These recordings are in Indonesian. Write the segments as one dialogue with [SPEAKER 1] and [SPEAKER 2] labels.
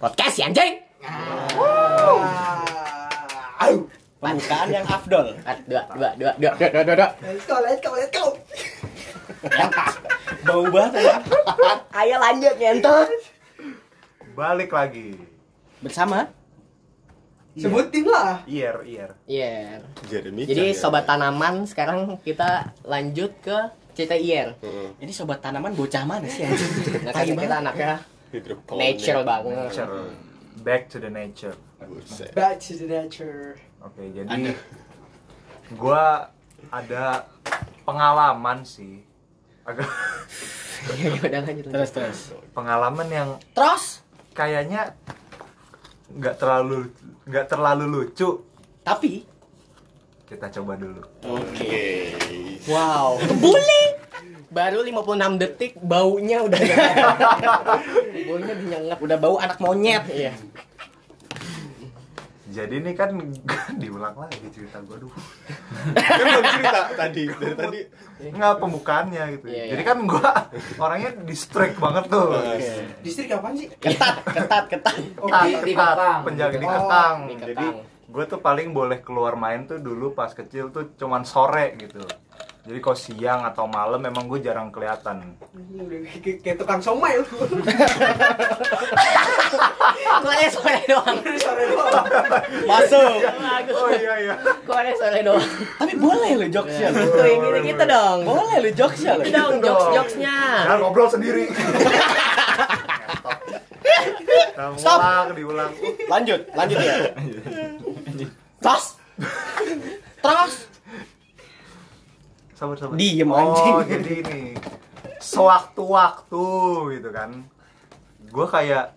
[SPEAKER 1] Podcast ya anjing.
[SPEAKER 2] Aduh.
[SPEAKER 3] Pembukaan Ah. yang afdol.
[SPEAKER 1] Satu, Ah, Dua, dua, dua, dua, dua, dua, dua, dua.
[SPEAKER 2] Let's go, let's go, let's go.
[SPEAKER 3] Bau banget ya.
[SPEAKER 1] Ayo lanjut nyentot.
[SPEAKER 4] Balik lagi.
[SPEAKER 3] Bersama
[SPEAKER 2] Sebutin lah.
[SPEAKER 4] IR, IR.
[SPEAKER 1] Iya.
[SPEAKER 5] Jeremy
[SPEAKER 1] Jadi
[SPEAKER 5] Chan, ya.
[SPEAKER 1] sobat tanaman sekarang kita lanjut ke cerita IR.
[SPEAKER 5] Mm,
[SPEAKER 3] ini sobat tanaman bocah mana sih anjing?
[SPEAKER 1] Nah, karena kita anaknya
[SPEAKER 3] Iya.
[SPEAKER 5] hidroponik.
[SPEAKER 1] natural banget.
[SPEAKER 4] Nature. Back to the nature.
[SPEAKER 5] Buset.
[SPEAKER 2] Back to the nature.
[SPEAKER 4] Oke, jadi gua ada pengalaman sih. Agak
[SPEAKER 1] Iya, iya, udah lanjut. lanjut.
[SPEAKER 3] Terus terus.
[SPEAKER 4] pengalaman yang
[SPEAKER 3] Terus
[SPEAKER 4] kayaknya nggak terlalu nggak terlalu lucu.
[SPEAKER 3] tapi
[SPEAKER 4] Kita coba dulu.
[SPEAKER 5] Oke.
[SPEAKER 1] Wow. Kebuli. Baru 56 detik baunya udah nyengat. baunya udah nyengat.
[SPEAKER 3] udah bau anak monyet.
[SPEAKER 1] Iya.
[SPEAKER 4] Jadi ini kan diulang lagi cerita gua dulu.
[SPEAKER 5] Kan belum cerita tadi. Dari tadi
[SPEAKER 4] Nggak pembukaannya gitu.
[SPEAKER 1] Iya, iya.
[SPEAKER 4] Jadi kan gua orangnya distrek banget tuh.
[SPEAKER 5] eh,
[SPEAKER 2] Distrik apaan sih?
[SPEAKER 3] Ketat, ketat, ketat.
[SPEAKER 2] Oh,
[SPEAKER 4] Ketat,
[SPEAKER 2] di- di
[SPEAKER 4] ketat,
[SPEAKER 2] Ketang.
[SPEAKER 4] penjaga di
[SPEAKER 2] Oh,
[SPEAKER 4] Ketang.
[SPEAKER 1] di Ketang.
[SPEAKER 4] Jadi gue tuh paling boleh keluar main tuh dulu pas kecil tuh cuman sore gitu. Jadi kalau siang atau malam memang gue jarang kelihatan.
[SPEAKER 2] Ini udah kayak- Kayak tukang somai lu.
[SPEAKER 1] Kok ada sore doang?
[SPEAKER 2] Sore doang.
[SPEAKER 3] Masuk.
[SPEAKER 4] Oh iya iya.
[SPEAKER 1] Kok ada sore doang?
[SPEAKER 3] Tapi boleh lo jokesnya lo.
[SPEAKER 1] Tuh yang gini gitu dong.
[SPEAKER 3] Boleh lo jokesnya lo.
[SPEAKER 1] Gitu dong jokes-jokesnya.
[SPEAKER 4] Jangan ngobrol sendiri. Nah,
[SPEAKER 3] Stop.
[SPEAKER 4] Ulang, diulang.
[SPEAKER 3] Lanjut, lanjut ya. Terus. Terus.
[SPEAKER 4] Sabar sabar.
[SPEAKER 3] Diem,
[SPEAKER 4] Oh
[SPEAKER 3] anjing.
[SPEAKER 4] jadi ini sewaktu-waktu gitu kan. Gue kayak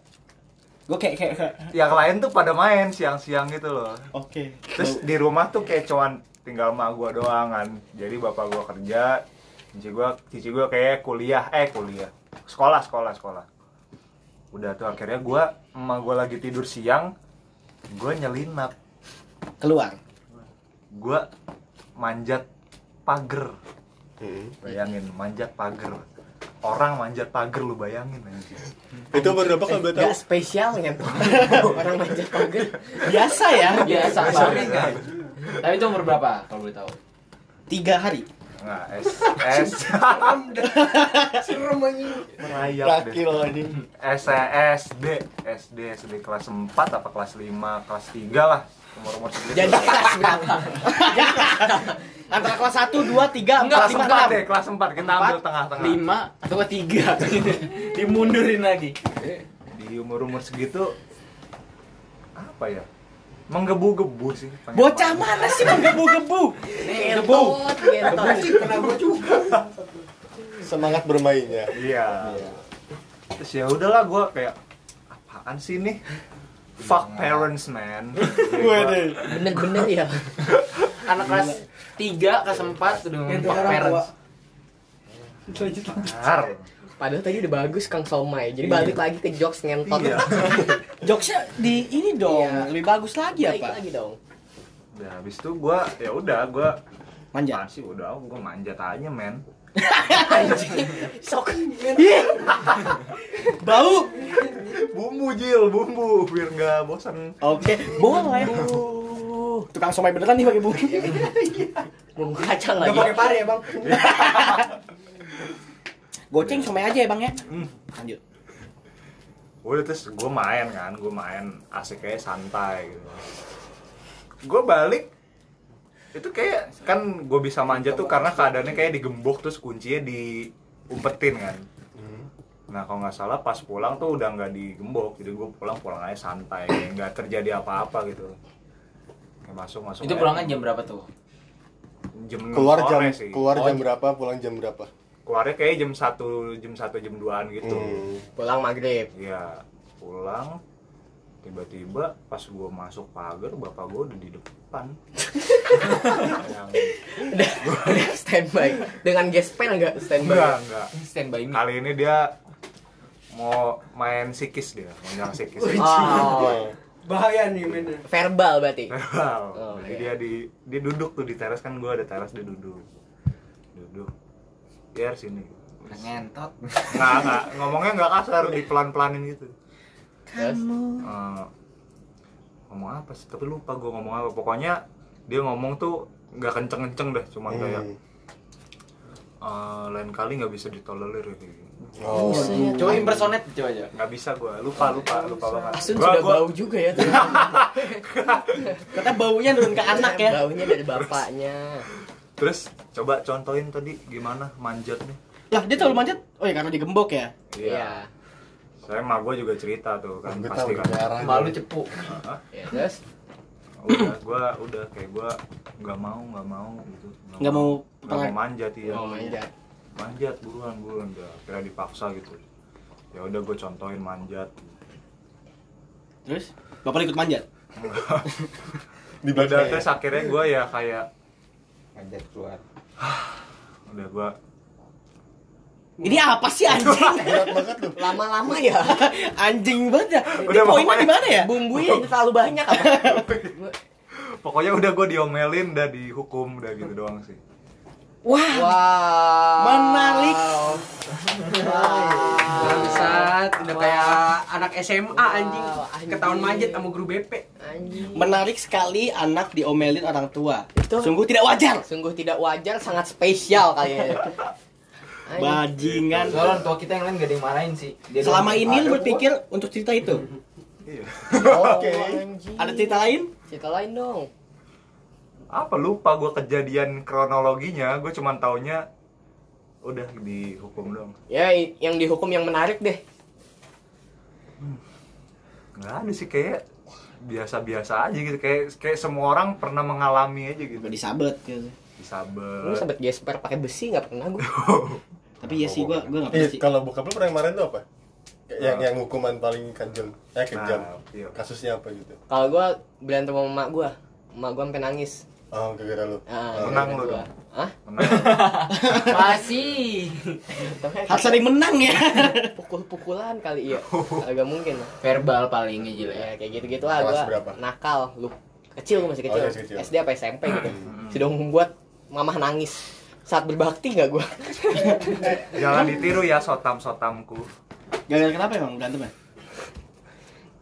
[SPEAKER 3] Gue kayak kayak kayak-
[SPEAKER 4] yang lain tuh pada main siang-siang gitu loh.
[SPEAKER 3] oke.
[SPEAKER 4] Terus di rumah tuh kayak cuman tinggal mak gua doang kan. Jadi bapak gua kerja, cici gua cici gua kayak kuliah, eh kuliah. Sekolah, sekolah, sekolah. Udah tuh akhirnya gua emak gua lagi tidur siang, gua nyelinap.
[SPEAKER 3] keluar.
[SPEAKER 4] Gua manjat pagar.
[SPEAKER 5] Hmm.
[SPEAKER 4] Bayangin manjat pagar. Orang manjat pagar lu bayangin anjir.
[SPEAKER 5] Itu baru berapa kalau boleh tahu?
[SPEAKER 1] Gak spesial nyentuh orang manjat pagar
[SPEAKER 3] ya. Biasa ya.
[SPEAKER 6] biasa
[SPEAKER 4] Sorry,
[SPEAKER 6] Pak.
[SPEAKER 4] guys.
[SPEAKER 6] tapi itu umur berapa kalau boleh tahu
[SPEAKER 3] Tiga hari.
[SPEAKER 4] Enggak, es es
[SPEAKER 2] Serem dah. Serem anjing.
[SPEAKER 4] merayap deh.
[SPEAKER 5] Laki loh ini.
[SPEAKER 4] E SD SD SD kelas 4 apa kelas 5 kelas 3 lah umur-umur segitu
[SPEAKER 1] Jadi kelas berapa?
[SPEAKER 3] Antara kelas 1, 2, 3, 4,
[SPEAKER 4] kelas
[SPEAKER 3] 5,
[SPEAKER 4] 4 deh
[SPEAKER 3] 6
[SPEAKER 4] kelas 4 kita ambil tengah-tengah
[SPEAKER 6] lima atau nggak tiga dimundurin lagi
[SPEAKER 4] di umur-umur segitu apa ya menggebu-gebu sih pengen ya?
[SPEAKER 3] Bocah
[SPEAKER 4] main.
[SPEAKER 3] mana sih menggebu-gebu? Gebu.
[SPEAKER 1] Ngentot, ngentot.
[SPEAKER 2] Anjing kena gua juga.
[SPEAKER 5] Semangat bermainnya.
[SPEAKER 4] iya terus ya udahlah gue kayak apaan sih nih fuck parents man
[SPEAKER 5] Gue deh.
[SPEAKER 1] Bener-bener ya.
[SPEAKER 6] anak kelas tiga kelas empat udah
[SPEAKER 2] Kayak
[SPEAKER 6] ngomong
[SPEAKER 2] tukang
[SPEAKER 6] fuck
[SPEAKER 2] orang
[SPEAKER 6] parents
[SPEAKER 2] tua. Lanjut lanjut.
[SPEAKER 4] Benar. Iya.
[SPEAKER 1] Padahal tadi udah bagus Kang Somai. Jadi balik lagi ke jokes ngentot.
[SPEAKER 3] Iya.
[SPEAKER 4] iya
[SPEAKER 3] Jokesnya di ini dong,
[SPEAKER 1] Iya.
[SPEAKER 3] lebih bagus lagi
[SPEAKER 1] Balik
[SPEAKER 3] apa?
[SPEAKER 1] lagi dong.
[SPEAKER 4] udah habis itu gue ya udah gue
[SPEAKER 3] Manja.
[SPEAKER 4] masih udah gue manjat aja men
[SPEAKER 1] Sok.
[SPEAKER 2] Iya.
[SPEAKER 3] Bau.
[SPEAKER 4] bumbu jil bumbu biar nggak bosan
[SPEAKER 3] Oke,
[SPEAKER 1] ya.
[SPEAKER 3] boleh. Tukang somai beneran nih pakai bumbu.
[SPEAKER 1] Bumbu Iya, kacang
[SPEAKER 2] Gak
[SPEAKER 1] lagi.
[SPEAKER 2] pakai pare ya bang.
[SPEAKER 3] Goceng somai aja ya, Bang ya.
[SPEAKER 1] Hmm.
[SPEAKER 3] Lanjut.
[SPEAKER 4] udah terus gue main kan gue main asik kayak santai gitu gue balik itu kayak kan gue bisa manjat tuh karena keadaannya kayak digembok terus kuncinya diumpetin kan nah kalau nggak salah pas pulang tuh udah nggak digembok jadi gue pulang pulang aja santai kayak nggak terjadi apa-apa gitu Kayak masuk masuk
[SPEAKER 6] itu
[SPEAKER 4] aja.
[SPEAKER 6] pulangnya jam berapa tuh
[SPEAKER 4] jam enam
[SPEAKER 5] Keluar
[SPEAKER 4] sore
[SPEAKER 5] jam
[SPEAKER 4] sih. Oh,
[SPEAKER 5] keluar
[SPEAKER 6] Oh,
[SPEAKER 5] jam
[SPEAKER 6] j-
[SPEAKER 5] berapa, pulang jam berapa?
[SPEAKER 4] keluarnya kayak jam satu jam satu jam 2an gitu
[SPEAKER 5] Hmm.
[SPEAKER 1] Pulang maghrib.
[SPEAKER 4] ya pulang tiba-tiba pas gua masuk pagar bapak gua udah di depan Yang-
[SPEAKER 1] Udah, udah standby. Dengan gespen enggak
[SPEAKER 4] enggak
[SPEAKER 1] standby?
[SPEAKER 4] enggak
[SPEAKER 6] standby me
[SPEAKER 4] kali ini dia mau main sikis dia mau nyerang sikis
[SPEAKER 1] Oh.
[SPEAKER 5] Hmm.
[SPEAKER 2] Bahaya nih mainnya.
[SPEAKER 1] Verbal berarti.
[SPEAKER 4] Wow.
[SPEAKER 1] Oke.
[SPEAKER 4] jadi dia di dia duduk tuh di teras kan gua ada teras dia duduk duduk biar sini
[SPEAKER 7] ngentot
[SPEAKER 4] nggak nggak ngomongnya nggak kasar di pelan pelanin gitu
[SPEAKER 8] Terus?
[SPEAKER 4] Eh, ngomong apa sih tapi lupa gue ngomong apa pokoknya dia ngomong tuh nggak kenceng kenceng dah cuman kayak
[SPEAKER 5] Hmm.
[SPEAKER 4] eh, lain kali nggak bisa ditolerir gitu
[SPEAKER 5] Oh,
[SPEAKER 7] coba impersonate coba aja
[SPEAKER 4] nggak bisa gue lupa lupa lupa banget
[SPEAKER 8] Asun
[SPEAKER 4] Gua-
[SPEAKER 8] Ya. sudah
[SPEAKER 4] gua-
[SPEAKER 8] bau juga ya tuh.
[SPEAKER 7] kata baunya turun ke anak ya
[SPEAKER 8] Baunya dari bapaknya.
[SPEAKER 4] terus coba contohin tadi gimana manjatnya
[SPEAKER 1] Lah, dia terlalu manjat. Oh ya karena digembok ya.
[SPEAKER 8] Iya.
[SPEAKER 4] saya sama gue juga cerita tuh kan
[SPEAKER 5] Gue
[SPEAKER 4] pasti
[SPEAKER 5] tahu
[SPEAKER 4] kan
[SPEAKER 5] udah arah.
[SPEAKER 7] malu cepu
[SPEAKER 4] Heeh.
[SPEAKER 1] Iya,
[SPEAKER 8] Ya, terus
[SPEAKER 4] udah gue udah kayak gue nggak mau nggak mau gitu
[SPEAKER 1] Nggak mau
[SPEAKER 4] nggak
[SPEAKER 1] pelan-
[SPEAKER 4] mau manjat ya
[SPEAKER 8] mau Oh, manjat.
[SPEAKER 4] manjat buruan buruan udah akhirnya dipaksa gitu ya udah gue contohin manjat
[SPEAKER 1] Terus bapak ikut manjat.
[SPEAKER 5] Di
[SPEAKER 4] udah
[SPEAKER 5] belakang.
[SPEAKER 4] terus akhirnya gue ya kayak
[SPEAKER 7] ngajak keluar
[SPEAKER 4] udah gue
[SPEAKER 1] Ini apa sih anjing?
[SPEAKER 5] Berat banget lu.
[SPEAKER 8] Lama-lama ya.
[SPEAKER 1] anjing banget ya. Ini
[SPEAKER 4] Udah,
[SPEAKER 1] poinnya
[SPEAKER 4] pokoknya-
[SPEAKER 1] di mana ya?
[SPEAKER 8] Bumbunya terlalu banyak apa?
[SPEAKER 4] pokoknya udah gue diomelin udah dihukum udah gitu doang sih
[SPEAKER 1] Wah,
[SPEAKER 8] Wow.
[SPEAKER 1] menarik.
[SPEAKER 2] Bangsat, udah kayak anak SMA anjing,
[SPEAKER 8] Wow, anjing.
[SPEAKER 2] ketahuan manjat sama guru BP.
[SPEAKER 8] Anjing.
[SPEAKER 1] Menarik sekali anak diomelin orang tua.
[SPEAKER 8] Itu-
[SPEAKER 1] Sungguh tidak wajar.
[SPEAKER 8] Sungguh tidak wajar, sangat spesial ya. kayaknya. Anjing.
[SPEAKER 1] Bajingan.
[SPEAKER 7] soalnya orang tua kita yang lain gak ada yang marahin sih Dia
[SPEAKER 1] Selama
[SPEAKER 7] doang.
[SPEAKER 1] ini
[SPEAKER 7] Ada
[SPEAKER 1] lu
[SPEAKER 7] gua.
[SPEAKER 1] berpikir untuk cerita itu.
[SPEAKER 4] iya
[SPEAKER 8] Oh,
[SPEAKER 5] Oke.
[SPEAKER 8] anjing.
[SPEAKER 1] Ada cerita lain?
[SPEAKER 8] Cerita lain dong.
[SPEAKER 4] apa lupa gue kejadian kronologinya gue cuman taunya udah dihukum doang
[SPEAKER 8] Ya, i- yang dihukum yang menarik deh.
[SPEAKER 4] nggak ada sih kayak biasa-biasa aja gitu kayak kayak semua orang pernah mengalami aja gitu
[SPEAKER 1] Gak disabet gitu.
[SPEAKER 8] Lu
[SPEAKER 4] disabet
[SPEAKER 8] sempet gesper pakai besi nggak pernah gue.
[SPEAKER 1] Tapi ya sih gua gua gak
[SPEAKER 5] Iya,
[SPEAKER 1] pernah sih.
[SPEAKER 5] kalau bokap lu pernah yang kemarin tuh apa? Ya, Yang
[SPEAKER 4] Nah.
[SPEAKER 5] yang hukuman paling kejam. Eh kejam.
[SPEAKER 4] Nah, iya.
[SPEAKER 5] Kasusnya apa gitu?
[SPEAKER 8] Kalau gue berantem sama emak gue, emak gue sampai nangis.
[SPEAKER 5] Oh, gara-gara lu.
[SPEAKER 8] Ah,
[SPEAKER 4] Menang
[SPEAKER 8] gara-gara
[SPEAKER 4] lu
[SPEAKER 8] gua.
[SPEAKER 4] dong.
[SPEAKER 8] Hah?
[SPEAKER 4] Menang.
[SPEAKER 7] masih
[SPEAKER 1] Harus ada yang menang ya.
[SPEAKER 8] Pukul-pukulan kali iya. Agak mungkin. lah.
[SPEAKER 7] verbal paling aja lah
[SPEAKER 8] Ya
[SPEAKER 7] ya
[SPEAKER 8] kayak gitu-gitu lah
[SPEAKER 5] Kelas
[SPEAKER 8] gue.
[SPEAKER 5] berapa?
[SPEAKER 8] Nakal, lu kecil gua masih kecil.
[SPEAKER 5] Oh, masih kecil. Hmm.
[SPEAKER 8] SD apa SMP gitu. Sudah membuat mamah nangis. Saat berbakti nggak gue?
[SPEAKER 4] jangan ditiru ya sotam sotamku
[SPEAKER 1] Gara-gara kenapa emang berantem ya?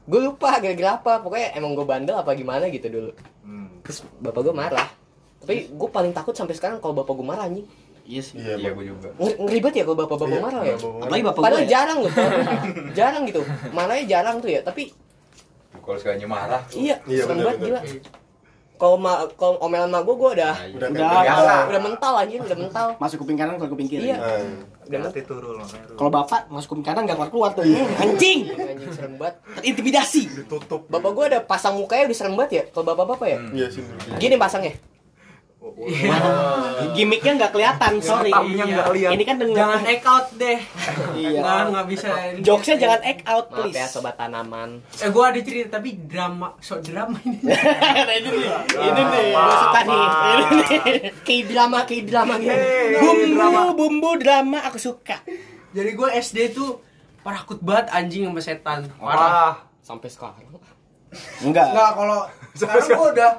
[SPEAKER 8] gue lupa gara-gara apa. Pokoknya emang gue bandel apa gimana gitu dulu.
[SPEAKER 4] hmm.
[SPEAKER 8] Terus bapak gue marah. Tapi gue paling takut sampai sekarang kalau bapak gue marah anjing.
[SPEAKER 1] Iya sih.
[SPEAKER 5] Iya, Bang.
[SPEAKER 7] juga
[SPEAKER 8] Ngeri, ngeri banget ya kalau bapak-bapak
[SPEAKER 5] Iya,
[SPEAKER 8] marah ya.
[SPEAKER 5] Bang.
[SPEAKER 1] Apalagi bapak gua
[SPEAKER 8] Padahal
[SPEAKER 1] ya.
[SPEAKER 8] jarang loh. jarang gitu. Mananya jarang tuh ya, tapi
[SPEAKER 7] kalau segalanya marah
[SPEAKER 8] iya,
[SPEAKER 5] Iya,
[SPEAKER 8] serem
[SPEAKER 5] bener,
[SPEAKER 8] banget
[SPEAKER 5] bener.
[SPEAKER 8] gila. Kalau ma- kalau omelan mak gue, gue udah
[SPEAKER 1] Udah.
[SPEAKER 5] Udah terbiasa.
[SPEAKER 8] udah mental anjir, udah mental.
[SPEAKER 1] Masuk kuping kanan keluar kuping kiri.
[SPEAKER 8] Iya.
[SPEAKER 5] Nah,
[SPEAKER 8] Udah mental.
[SPEAKER 4] hati turul makanya Rul.
[SPEAKER 1] Kalau bapak masuk kuping kanan gak keluar keluar tuh.
[SPEAKER 2] Iya.
[SPEAKER 1] Hmm, Anjing.
[SPEAKER 8] Anjing serem banget.
[SPEAKER 1] Terintimidasi.
[SPEAKER 4] ditutup
[SPEAKER 8] Bapak gue ada pasang mukanya udah serem banget ya, kalau bapak-bapak ya.
[SPEAKER 5] Iya sih. bener.
[SPEAKER 8] Gini pasangnya.
[SPEAKER 4] Oh,
[SPEAKER 1] Iya,
[SPEAKER 4] oh.
[SPEAKER 1] Gimiknya nggak kelihatan, sorry.
[SPEAKER 4] Sotamnya nggak
[SPEAKER 1] iya.
[SPEAKER 4] lihat
[SPEAKER 1] Ini kan dengan
[SPEAKER 2] Iya, Jangan take out deh.
[SPEAKER 1] Iya.
[SPEAKER 2] Nah, nggak bisa.
[SPEAKER 1] Jokesnya jangan act out
[SPEAKER 8] Maaf
[SPEAKER 1] please.
[SPEAKER 8] ya sobat tanaman.
[SPEAKER 2] Eh, gua ada cerita tapi drama, sok drama ini.
[SPEAKER 1] Nah, ini nih, ini nih,
[SPEAKER 4] Apa?
[SPEAKER 1] gua suka nih. Ini nih.
[SPEAKER 8] Kayak drama, kayak drama
[SPEAKER 2] Iya,
[SPEAKER 8] gitu.
[SPEAKER 4] Hey,
[SPEAKER 1] Bumbu,
[SPEAKER 4] drama.
[SPEAKER 1] bumbu drama aku suka.
[SPEAKER 2] Jadi gua SD tuh perakut banget anjing sama setan. Parah.
[SPEAKER 4] Wah,
[SPEAKER 8] Sampai sekarang.
[SPEAKER 1] Enggak.
[SPEAKER 2] Nggak, kalau sekarang gua udah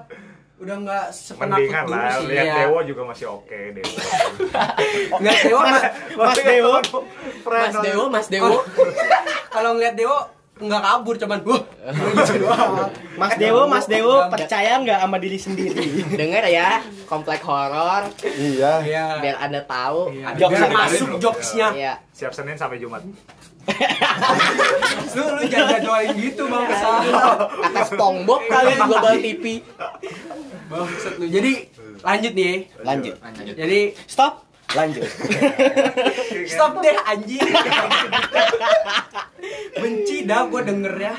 [SPEAKER 2] udah nggak sepenakut
[SPEAKER 4] mendingan
[SPEAKER 2] dulu
[SPEAKER 4] lah
[SPEAKER 2] sih.
[SPEAKER 4] lihat
[SPEAKER 2] Iya.
[SPEAKER 4] Dewo juga masih oke Dewo.
[SPEAKER 2] Lihat Dewo.
[SPEAKER 1] Mas Dewo,
[SPEAKER 8] Mas Dewo, Mas Dewo.
[SPEAKER 2] Kalau ngeliat Dewo nggak kabur cuman wah. gitu doang.
[SPEAKER 1] Mas Dewo, Mas Dewo percaya nggak sama diri sendiri?
[SPEAKER 8] Dengar ya, komplek horor
[SPEAKER 5] Iya.
[SPEAKER 2] Iya.
[SPEAKER 8] biar Anda tahu.
[SPEAKER 2] Iya.
[SPEAKER 1] Jokes
[SPEAKER 2] Biar
[SPEAKER 1] yang
[SPEAKER 2] masuk
[SPEAKER 4] dengerin.
[SPEAKER 2] jokesnya.
[SPEAKER 8] Iya.
[SPEAKER 4] Siap Senin sampai Jumat.
[SPEAKER 2] Lu lu jangan jadwalin gitu bang.
[SPEAKER 8] Kata SpongeBob kali Global TV.
[SPEAKER 2] Bangsat lu. Jadi lanjut nih.
[SPEAKER 1] Lanjut.
[SPEAKER 7] lanjut
[SPEAKER 2] Jadi
[SPEAKER 1] Stop. Lanjut.
[SPEAKER 2] stop deh anjing. Benci dah gua denger ya.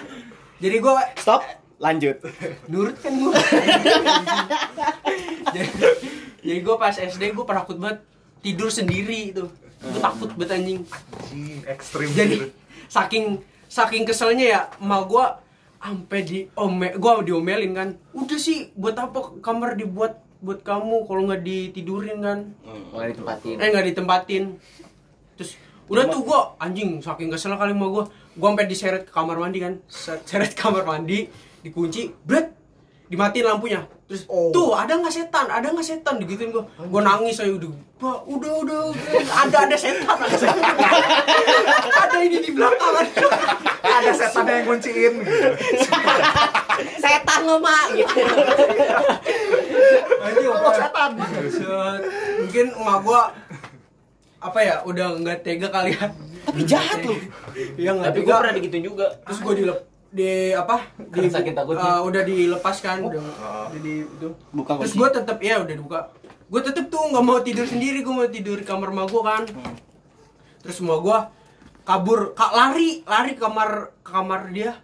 [SPEAKER 2] Jadi gua
[SPEAKER 1] Stop. Lanjut.
[SPEAKER 2] nurut kan gua. jadi, jadi gua pas SD gua penakut banget tidur sendiri itu. Gua takut banget anjing.
[SPEAKER 4] Anjing, ekstrim gitu.
[SPEAKER 2] Jadi saking saking keselnya ya emak gua ampe di ome gua diomelin kan. Udah sih buat apa kamar dibuat buat kamu kalau nggak ditidurin kan.
[SPEAKER 7] mulai ditempatin
[SPEAKER 2] eh nggak ditempatin terus udah tuh gua anjing saking kesel kali sama gua gua sampai diseret ke kamar mandi kan Set- seret ke kamar mandi dikunci bret dimatiin lampunya terus tuh ada nggak setan ada nggak setan digituin gua gua nangis saya udah "Bah, udah udah udah. ada ada setan ada setan ada ini di belakang ada
[SPEAKER 4] ada setan yang kunciin gitu.
[SPEAKER 8] Setan lo, Mak. Gitu.
[SPEAKER 2] Anjing, apaan? Set. mungkin emak gua apa ya udah nggak tega kali ya
[SPEAKER 8] Tapi jahat lu.
[SPEAKER 2] Iya nggak
[SPEAKER 7] Tapi gue
[SPEAKER 2] tega.
[SPEAKER 7] pernah digituin juga.
[SPEAKER 2] terus gue dilep di apa di
[SPEAKER 7] Karena saking takutnya.
[SPEAKER 2] eh, udah dilepaskan udah jadi itu
[SPEAKER 8] Buka
[SPEAKER 2] terus
[SPEAKER 8] kunci.
[SPEAKER 2] gue tetap ya udah dibuka gue tetap tuh nggak mau tidur sendiri gue mau tidur di kamar emak gue kan terus semua gue kabur kak lari lari ke kamar ke kamar dia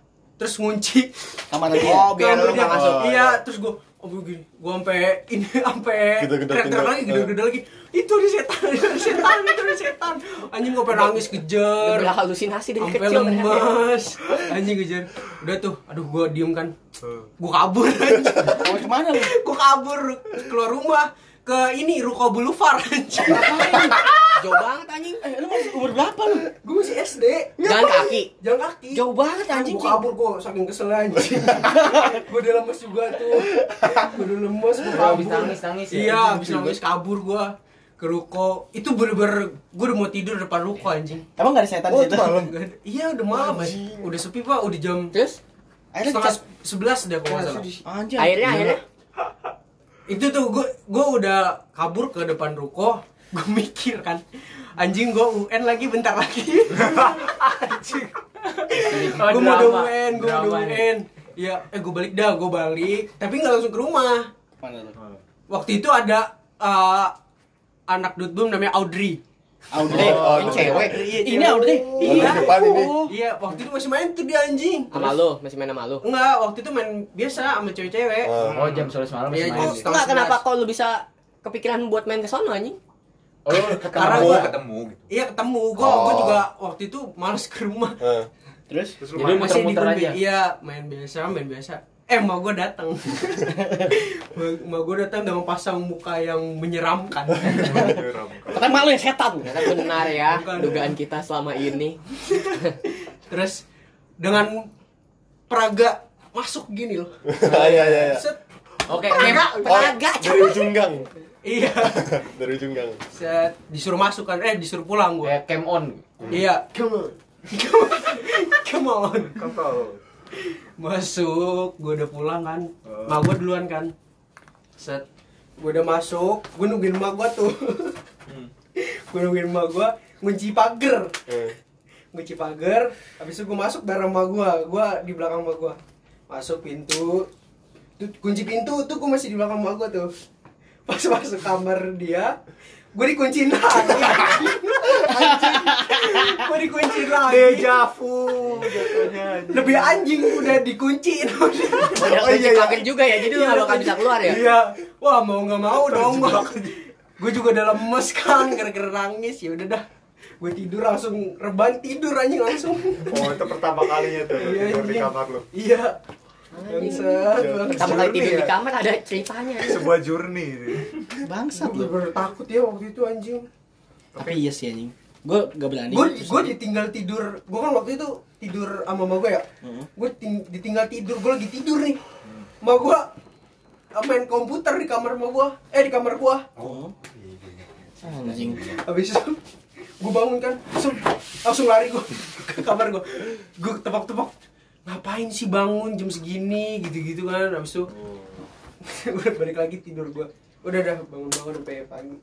[SPEAKER 2] terus ngunci
[SPEAKER 8] Kamar
[SPEAKER 2] Iya,
[SPEAKER 8] dia.
[SPEAKER 5] Oh, biar
[SPEAKER 2] Kamar
[SPEAKER 5] lu nggak
[SPEAKER 2] dia.
[SPEAKER 5] masuk.
[SPEAKER 2] iya terus gue oh begini gue sampai ini sampai
[SPEAKER 5] Gedor-gedor
[SPEAKER 2] teriak-teriak
[SPEAKER 5] pintu.
[SPEAKER 2] lagi gede-gede lagi itu di setan itu di setan itu di setan anjing gue pengen nangis kejer
[SPEAKER 8] Udah halusinasi dari
[SPEAKER 2] Sampai
[SPEAKER 8] kecil. ya. ternyata.
[SPEAKER 2] lemes. Anjing kejar. Udah tuh, aduh gua diem kan.
[SPEAKER 5] Hmm.
[SPEAKER 2] Gua kabur anjing.
[SPEAKER 8] Mau
[SPEAKER 1] Oh,
[SPEAKER 8] kemana lu?
[SPEAKER 2] Gua kabur keluar rumah ke ini Ruko Boulevard anjing.
[SPEAKER 8] Jauh banget anjing. Eh, lu masih umur berapa lu?
[SPEAKER 2] Gua masih SD.
[SPEAKER 8] Jalan kaki.
[SPEAKER 2] Jalan kaki.
[SPEAKER 8] Jauh banget anjing.
[SPEAKER 2] Gua kabur gua saking kesel anjing. gua udah lemes juga tuh. Gua udah lemes gua
[SPEAKER 7] Gua
[SPEAKER 2] kabur.
[SPEAKER 7] habis nangis-nangis ya.
[SPEAKER 2] Iya, habis nangis kabur gua ke ruko. Itu bener-bener gua udah mau tidur depan ruko anjing.
[SPEAKER 8] Emang gak ada setan di situ?
[SPEAKER 2] Nggak ada- Iya udah malam anjing. Udah sepi pak, udah jam
[SPEAKER 8] Terus? Akhirnya
[SPEAKER 2] setengah
[SPEAKER 8] dicap-
[SPEAKER 2] sebelas deh kalau nggak salah.
[SPEAKER 8] Anjir. Akhirnya akhirnya
[SPEAKER 2] itu tuh gue gue udah kabur ke depan ruko gue mikir kan anjing gue UN lagi bentar lagi
[SPEAKER 7] Oh,
[SPEAKER 2] gue mau udah
[SPEAKER 7] drama.
[SPEAKER 2] UN gue udah
[SPEAKER 7] Drama nih.
[SPEAKER 2] UN ya eh gue balik dah gue balik tapi nggak langsung ke rumah
[SPEAKER 8] mana lu?
[SPEAKER 2] waktu itu ada eh, anak dutbum namanya Audrey
[SPEAKER 8] Audrey,
[SPEAKER 5] Oh,
[SPEAKER 8] ini
[SPEAKER 5] Audrey.
[SPEAKER 8] cewek.
[SPEAKER 2] Iya,
[SPEAKER 8] Ini
[SPEAKER 2] cewek.
[SPEAKER 8] Audrey.
[SPEAKER 5] Audrey
[SPEAKER 2] iya
[SPEAKER 5] depan ini.
[SPEAKER 2] oh. iya waktu itu masih main tuh dia anjing
[SPEAKER 8] Sama lu, masih main sama lu.
[SPEAKER 2] Enggak, waktu itu main biasa sama cewek-cewek
[SPEAKER 5] Oh.
[SPEAKER 7] Oh, jam 11 malam
[SPEAKER 2] Iya, jam
[SPEAKER 7] masih main.
[SPEAKER 2] setengah
[SPEAKER 8] Enggak kenapa
[SPEAKER 2] sebelas.
[SPEAKER 8] kok lu bisa kepikiran buat main ke sono anjing?
[SPEAKER 7] Oh, lu
[SPEAKER 2] Karena
[SPEAKER 7] ketemu.
[SPEAKER 2] gua-
[SPEAKER 9] ketemu gitu.
[SPEAKER 2] Iya ketemu, gue gua juga waktu itu males ke rumah
[SPEAKER 5] Eh,
[SPEAKER 8] Terus
[SPEAKER 4] Terus
[SPEAKER 7] Jadi
[SPEAKER 4] rumah
[SPEAKER 2] masih di
[SPEAKER 7] muter-muter
[SPEAKER 2] Gumbi.
[SPEAKER 7] aja.
[SPEAKER 2] Iya, main biasa, main biasa. Eh, mau gue datang. mau gue datang dengan pasang muka yang menyeramkan.
[SPEAKER 8] itu kan malu ya setan. Ternyata benar ya
[SPEAKER 2] Bukan.
[SPEAKER 8] dugaan kita selama ini.
[SPEAKER 2] Terus dengan peraga masuk gini loh.
[SPEAKER 5] Iya, iya, iya.
[SPEAKER 2] Set.
[SPEAKER 7] Oke,
[SPEAKER 8] Peraga,
[SPEAKER 5] Oh,
[SPEAKER 8] peraga.
[SPEAKER 5] dari ujung gang.
[SPEAKER 2] Iya.
[SPEAKER 5] Dari ujung gang.
[SPEAKER 2] Set disuruh masuk kan. Eh, disuruh pulang gue.
[SPEAKER 7] kayak cam on.
[SPEAKER 2] Iya. Come on. Come on. Masuk, gue udah pulang kan. Mak gue duluan kan. Set. Gue udah masuk, gue nungguin mak gue tuh. gue nungguin mak gue ngunci pagar.
[SPEAKER 5] Eh,
[SPEAKER 2] Ngunci pagar, habis itu gue masuk bareng mak gue. Gue di belakang mak gue. Masuk pintu. Tuh, kunci pintu tuh gue masih di belakang mak gue tuh. Pas masuk kamar dia, gue dikunciin lagi. gue dikunciin lagi. Lebih anjing udah dikunciin.
[SPEAKER 8] Udah oh, iya, juga ya, jadi lu
[SPEAKER 2] Iya,
[SPEAKER 8] nggak bakal
[SPEAKER 2] kan.
[SPEAKER 8] bisa keluar ya?
[SPEAKER 2] Iya. Wah, mau nggak mau dong. Gue juga udah lemes kan gara-gara nangis. Ya udah dah. Gue tidur langsung reban tidur anjing langsung.
[SPEAKER 4] Oh, itu pertama kalinya tuh lu tidur di
[SPEAKER 2] anjing.
[SPEAKER 4] kamar lu.
[SPEAKER 2] Iya. Bangsat,
[SPEAKER 8] Pertama
[SPEAKER 2] bangsat.
[SPEAKER 8] kali tidur di kamar ada ceritanya.
[SPEAKER 4] Sebuah journey ini.
[SPEAKER 8] Bangsat
[SPEAKER 2] Gue
[SPEAKER 8] lu.
[SPEAKER 2] bertakut ya waktu itu anjing.
[SPEAKER 8] Tapi iya sih anjing. Gue gak berani.
[SPEAKER 2] Gue gue ditinggal tidur. Gue kan waktu itu tidur sama mama gue ya.
[SPEAKER 8] Mm-hmm.
[SPEAKER 2] Gue ditinggal tidur. Gue lagi tidur nih. Mama gue main komputer di kamar mama gue. Eh di kamar gue.
[SPEAKER 8] Oh. anjing.
[SPEAKER 2] Habis itu gue bangun kan, langsung, langsung lari gue ke kamar gue. Gue tebak-tebak, ngapain sih bangun jam segini gitu-gitu kan. Habis itu
[SPEAKER 8] Oh.
[SPEAKER 2] gue balik lagi tidur gue. Udah dah bangun-bangun sampai pagi.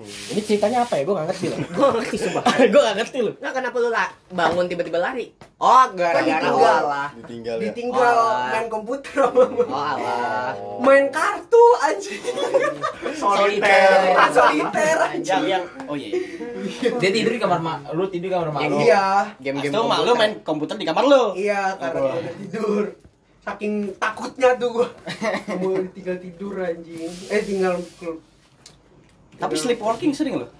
[SPEAKER 3] Ini ceritanya apa ya? Gue gak ngerti loh.
[SPEAKER 8] Gue ngerti sumpah.
[SPEAKER 3] gue gak ngerti loh.
[SPEAKER 8] Nah kenapa lu la- bangun tiba-tiba lari? Oh gara-gara
[SPEAKER 2] Kan
[SPEAKER 8] oh,
[SPEAKER 2] ditinggal.
[SPEAKER 8] alah.
[SPEAKER 5] ditinggal ya.
[SPEAKER 2] Ditinggal
[SPEAKER 8] Alah.
[SPEAKER 2] main komputer sama
[SPEAKER 8] Oh
[SPEAKER 2] mama.
[SPEAKER 8] alah.
[SPEAKER 5] Oh.
[SPEAKER 2] Main kartu anjing.
[SPEAKER 8] Soliter.
[SPEAKER 2] Main Soliter anjing.
[SPEAKER 3] Yang yang oh iya. iya.
[SPEAKER 7] Dia tidur di kamar mak, lu tidur di kamar mak. lu.
[SPEAKER 2] Iya.
[SPEAKER 8] Game-game
[SPEAKER 3] Itu mak lu main komputer di kamar lu.
[SPEAKER 2] Iya, karena gua udah tidur. Saking takutnya tuh gua. Mau tinggal tidur anjing. Eh tinggal
[SPEAKER 3] Tapi sleepwalking sering loh.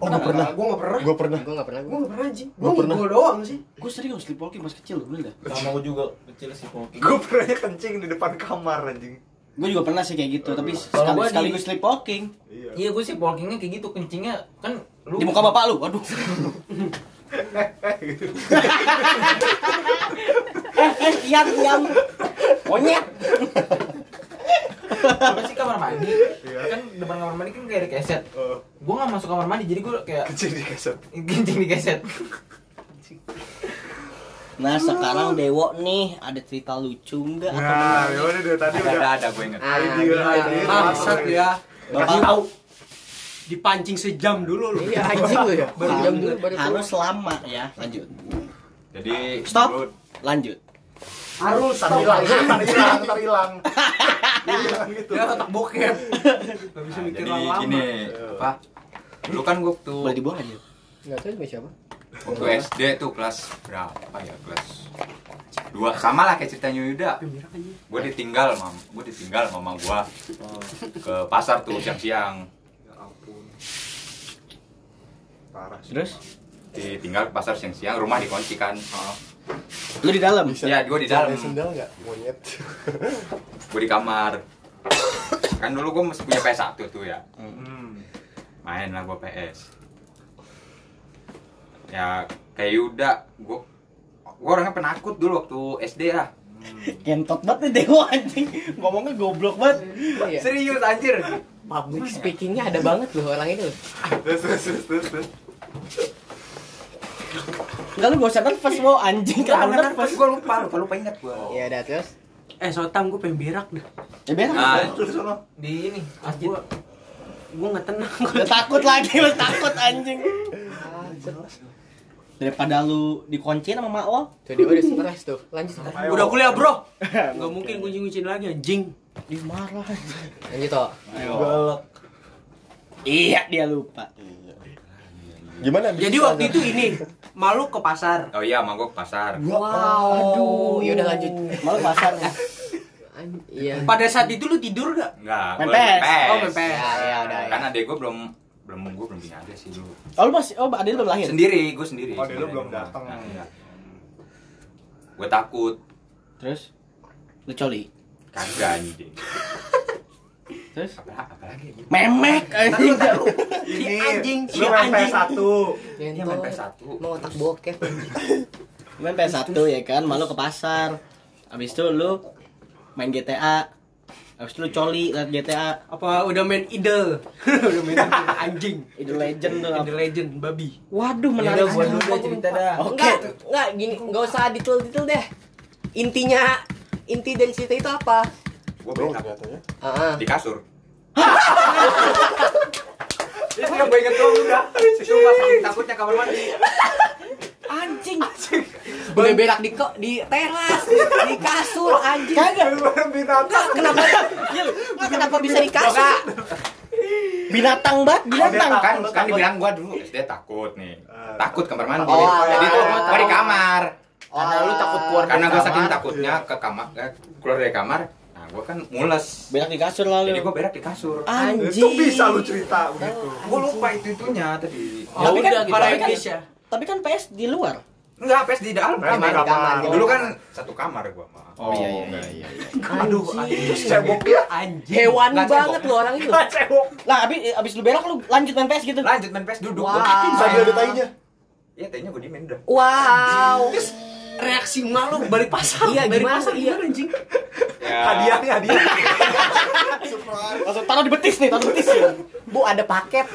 [SPEAKER 5] Oh, gue pernah.
[SPEAKER 2] Gua enggak pernah.
[SPEAKER 5] Gue pernah.
[SPEAKER 8] Gue gak pernah
[SPEAKER 2] Gua
[SPEAKER 8] gue.
[SPEAKER 2] nggak pernah anjing.
[SPEAKER 5] Gua
[SPEAKER 2] Gua
[SPEAKER 5] pernah.
[SPEAKER 2] Gua doang sih.
[SPEAKER 3] Gue sering loh sleepwalking pas kecil loh bener dah.
[SPEAKER 9] Sama gua juga kecil sih pokoknya.
[SPEAKER 4] Gue pernahnya kencing di depan kamar anjing.
[SPEAKER 3] Gue juga pernah sih kayak gitu, tapi
[SPEAKER 7] Kalau
[SPEAKER 3] sekali,
[SPEAKER 7] gua di-
[SPEAKER 3] sekali gue sleepwalking
[SPEAKER 4] Iya.
[SPEAKER 7] Iya, gue sih walkingnya kayak gitu, kencingnya kan lu
[SPEAKER 3] di muka bapak lu. Waduh. eh, eh, diam, diam. Monyet.
[SPEAKER 9] apa sih kamar mandi
[SPEAKER 4] Iya.
[SPEAKER 9] kan depan kamar mandi kan kayak ada keset
[SPEAKER 4] Oh,
[SPEAKER 9] gue nggak masuk kamar mandi jadi gue kayak
[SPEAKER 4] kecil di keset.
[SPEAKER 9] kencing di keset
[SPEAKER 1] Nah sekarang Dewo nih ada cerita lucu nggak? Atau
[SPEAKER 8] Iya.
[SPEAKER 4] Nah,
[SPEAKER 1] gimana?
[SPEAKER 4] yaudah dari tadi
[SPEAKER 7] Ada
[SPEAKER 4] udah.
[SPEAKER 7] ada, ada gue inget.
[SPEAKER 8] Ah,
[SPEAKER 4] Ideal, ideal.
[SPEAKER 2] Masak ya. Kasih
[SPEAKER 1] Bapak-
[SPEAKER 2] tahu. Dipancing sejam dulu lu.
[SPEAKER 8] Iya anjing lu ya.
[SPEAKER 2] Baru
[SPEAKER 1] Harus-
[SPEAKER 8] jam dulu baru keluar.
[SPEAKER 1] harus lama ya. Lanjut.
[SPEAKER 7] Jadi
[SPEAKER 1] Stop.
[SPEAKER 7] dulu-
[SPEAKER 1] Lanjut.
[SPEAKER 2] Harus
[SPEAKER 4] Ntar hilang, ntar hilang, ntar hilang.
[SPEAKER 2] Ya otak bokep. Gak bisa
[SPEAKER 7] Nah,
[SPEAKER 2] mikir
[SPEAKER 7] jadi
[SPEAKER 2] lama-lama.
[SPEAKER 7] gini, apa? Dulu kan gue waktu
[SPEAKER 1] Boleh dibuang aja.
[SPEAKER 8] Nggak tahu juga siapa.
[SPEAKER 7] waktu SD tuh kelas berapa ya? Kelas dua sama lah kayak ceritanya Yuda. Gue ditinggal mam, gue ditinggal mama gue
[SPEAKER 2] Oh.
[SPEAKER 7] ke pasar tuh siang-siang.
[SPEAKER 4] Ya ampun. Parah sih.
[SPEAKER 1] Terus?
[SPEAKER 7] Ditinggal ke pasar siang-siang, rumah dikunci kan.
[SPEAKER 1] Lu di dalam.
[SPEAKER 5] Bisa.
[SPEAKER 7] Iya, gua di
[SPEAKER 5] Bisa
[SPEAKER 7] dalam.
[SPEAKER 5] pakai Sendal nggak? Monyet.
[SPEAKER 7] Gue di kamar. Kan dulu gue masih punya PS 1 tuh ya.
[SPEAKER 4] Hmm.
[SPEAKER 7] main lah gue PS ya kayak Yuda gue gue orangnya penakut dulu waktu SD ya
[SPEAKER 1] Kentot Eh, banget nih Dewo anjing. Ngomongnya goblok banget.
[SPEAKER 8] Iya.
[SPEAKER 7] serius anjir
[SPEAKER 8] Public speakingnya ada banget loh orang itu.
[SPEAKER 4] Terus, terus, terus, terus, terus.
[SPEAKER 1] Enggak lu gak usah nervous mau anjing
[SPEAKER 7] Enggak,
[SPEAKER 1] kalau
[SPEAKER 7] bener pas
[SPEAKER 1] nervous.
[SPEAKER 7] gue lupa lupa lupa ingat Ya. gue
[SPEAKER 4] Oh.
[SPEAKER 8] Iya udah terus.
[SPEAKER 2] Eh sotam gue pengen berak dah.
[SPEAKER 1] Ya biar
[SPEAKER 7] nah
[SPEAKER 9] di ini masjid
[SPEAKER 2] Gue gue nggak tenang.
[SPEAKER 1] Udah takut lagi, udah takut anjing. Daripada lu dikunci sama Mak Wol.
[SPEAKER 8] Tuh dia udah stres tuh. Lanjut. Toh.
[SPEAKER 4] Ayo.
[SPEAKER 2] Udah kuliah bro. Gak mungkin gue ngucin lagi anjing.
[SPEAKER 1] Dia marah.
[SPEAKER 8] Lanjut oh. toh.
[SPEAKER 5] Galak.
[SPEAKER 1] Iya, dia lupa.
[SPEAKER 5] Gimana?
[SPEAKER 2] Jadi waktu itu ini malu ke pasar.
[SPEAKER 7] oh iya emang gue ke pasar
[SPEAKER 8] Wow. Aduh, ya udah lanjut.
[SPEAKER 1] Malu pasar.
[SPEAKER 8] An- Iya.
[SPEAKER 2] Pada saat itu lu tidur gak?
[SPEAKER 7] enggak
[SPEAKER 1] Main
[SPEAKER 7] gua lagi
[SPEAKER 1] PS.
[SPEAKER 7] PS.
[SPEAKER 2] Oh, main PS.
[SPEAKER 4] Iya,
[SPEAKER 8] Ya, ya udah. Ya.
[SPEAKER 7] kan adek gue belum belum gue belum punya adek sih dulu
[SPEAKER 1] Oh, lu masih oh, adil belum
[SPEAKER 2] Iya.
[SPEAKER 1] lahir.
[SPEAKER 7] sendiri gue sendiri
[SPEAKER 4] Oh, dia lu
[SPEAKER 7] Sendiri
[SPEAKER 4] belum
[SPEAKER 7] di rumah.
[SPEAKER 4] datang.
[SPEAKER 7] Nah, iya. gue takut
[SPEAKER 1] Terus lu coli.
[SPEAKER 7] kagak anjing
[SPEAKER 1] Terus
[SPEAKER 7] apa apa lagi
[SPEAKER 1] memek anjing.
[SPEAKER 2] Si
[SPEAKER 4] Ini,
[SPEAKER 2] anjing, si
[SPEAKER 4] lu main
[SPEAKER 2] anjing.
[SPEAKER 4] PS1.
[SPEAKER 7] dia main PS1
[SPEAKER 8] Mau otak bokep.
[SPEAKER 1] Main PS1 ya kan, malu ke pasar. Abis itu lu main GTA. Abis itu lu coli liat GTA.
[SPEAKER 2] Apa udah main idol? udah main idol, anjing.
[SPEAKER 1] Idol Legend tuh.
[SPEAKER 2] Idol legend babi.
[SPEAKER 1] Waduh,
[SPEAKER 9] udah
[SPEAKER 1] menarik.
[SPEAKER 9] gua
[SPEAKER 1] sekali.
[SPEAKER 9] dulu cerita dah
[SPEAKER 1] Oke.
[SPEAKER 8] Enggak, enggak gini, enggak usah detail-detail deh. Intinya inti dari cerita itu apa?
[SPEAKER 7] gue
[SPEAKER 5] Bro,
[SPEAKER 7] bengkak
[SPEAKER 5] katanya.
[SPEAKER 8] Heeh.
[SPEAKER 7] di kasur itu yang gue inget tuh udah itu pas takutnya kamar mandi
[SPEAKER 8] Anjing. Boleh berak di kok di teras, di kasur anjing. Enggak, kenapa? Enggak, kenapa bisa di kasur?
[SPEAKER 1] Binatang banget, binatang.
[SPEAKER 7] kan kan dibilang gue dulu SD takut nih takut kamar mandi
[SPEAKER 8] Oh,
[SPEAKER 7] jadi tuh
[SPEAKER 8] iya.
[SPEAKER 7] gue di kamar
[SPEAKER 8] Karena
[SPEAKER 9] lu takut keluar
[SPEAKER 7] karena gue
[SPEAKER 9] kamar.
[SPEAKER 7] saking takutnya ke kamar eh, keluar dari kamar nah gue kan mules
[SPEAKER 1] Berak di kasur lalu.
[SPEAKER 7] jadi gue berak di kasur
[SPEAKER 8] Ah.
[SPEAKER 1] Anjing.
[SPEAKER 4] Itu bisa lu cerita
[SPEAKER 2] Oh,
[SPEAKER 4] begitu.
[SPEAKER 7] gue lupa itu itunya tadi
[SPEAKER 2] Ya
[SPEAKER 1] Tapi kan-
[SPEAKER 2] udah,
[SPEAKER 1] tapi
[SPEAKER 2] orang
[SPEAKER 1] kan-
[SPEAKER 2] Indonesia.
[SPEAKER 1] Tapi kan PS di luar.
[SPEAKER 7] enggak pes di dalam
[SPEAKER 4] Main di
[SPEAKER 7] kamar
[SPEAKER 4] kamar.
[SPEAKER 7] dulu kan satu kamar gue mah
[SPEAKER 1] Oh, iya iya iya.
[SPEAKER 4] Aduh, anjing. Cebok dia.
[SPEAKER 2] Anjing.
[SPEAKER 8] Hewan
[SPEAKER 7] Nggak
[SPEAKER 8] banget
[SPEAKER 7] cebok.
[SPEAKER 8] lu orang itu.
[SPEAKER 4] Cebok.
[SPEAKER 1] Lah abis abis lu berak lu lanjut main PS gitu.
[SPEAKER 7] lanjut main pes duduk
[SPEAKER 8] Wah.
[SPEAKER 5] Sambil ada tainya.
[SPEAKER 7] ya tadinya gue diemin dah
[SPEAKER 8] Wow.
[SPEAKER 2] Reaksi malu balik pasar.
[SPEAKER 8] Iya,
[SPEAKER 2] balik
[SPEAKER 8] gimana?
[SPEAKER 2] pasar
[SPEAKER 8] Iya.
[SPEAKER 2] gimana anjing?
[SPEAKER 4] Hadiahnya, hadiah.
[SPEAKER 1] Langsung taruh di betis nih, taruh di betis. ya.
[SPEAKER 8] Bu ada paket.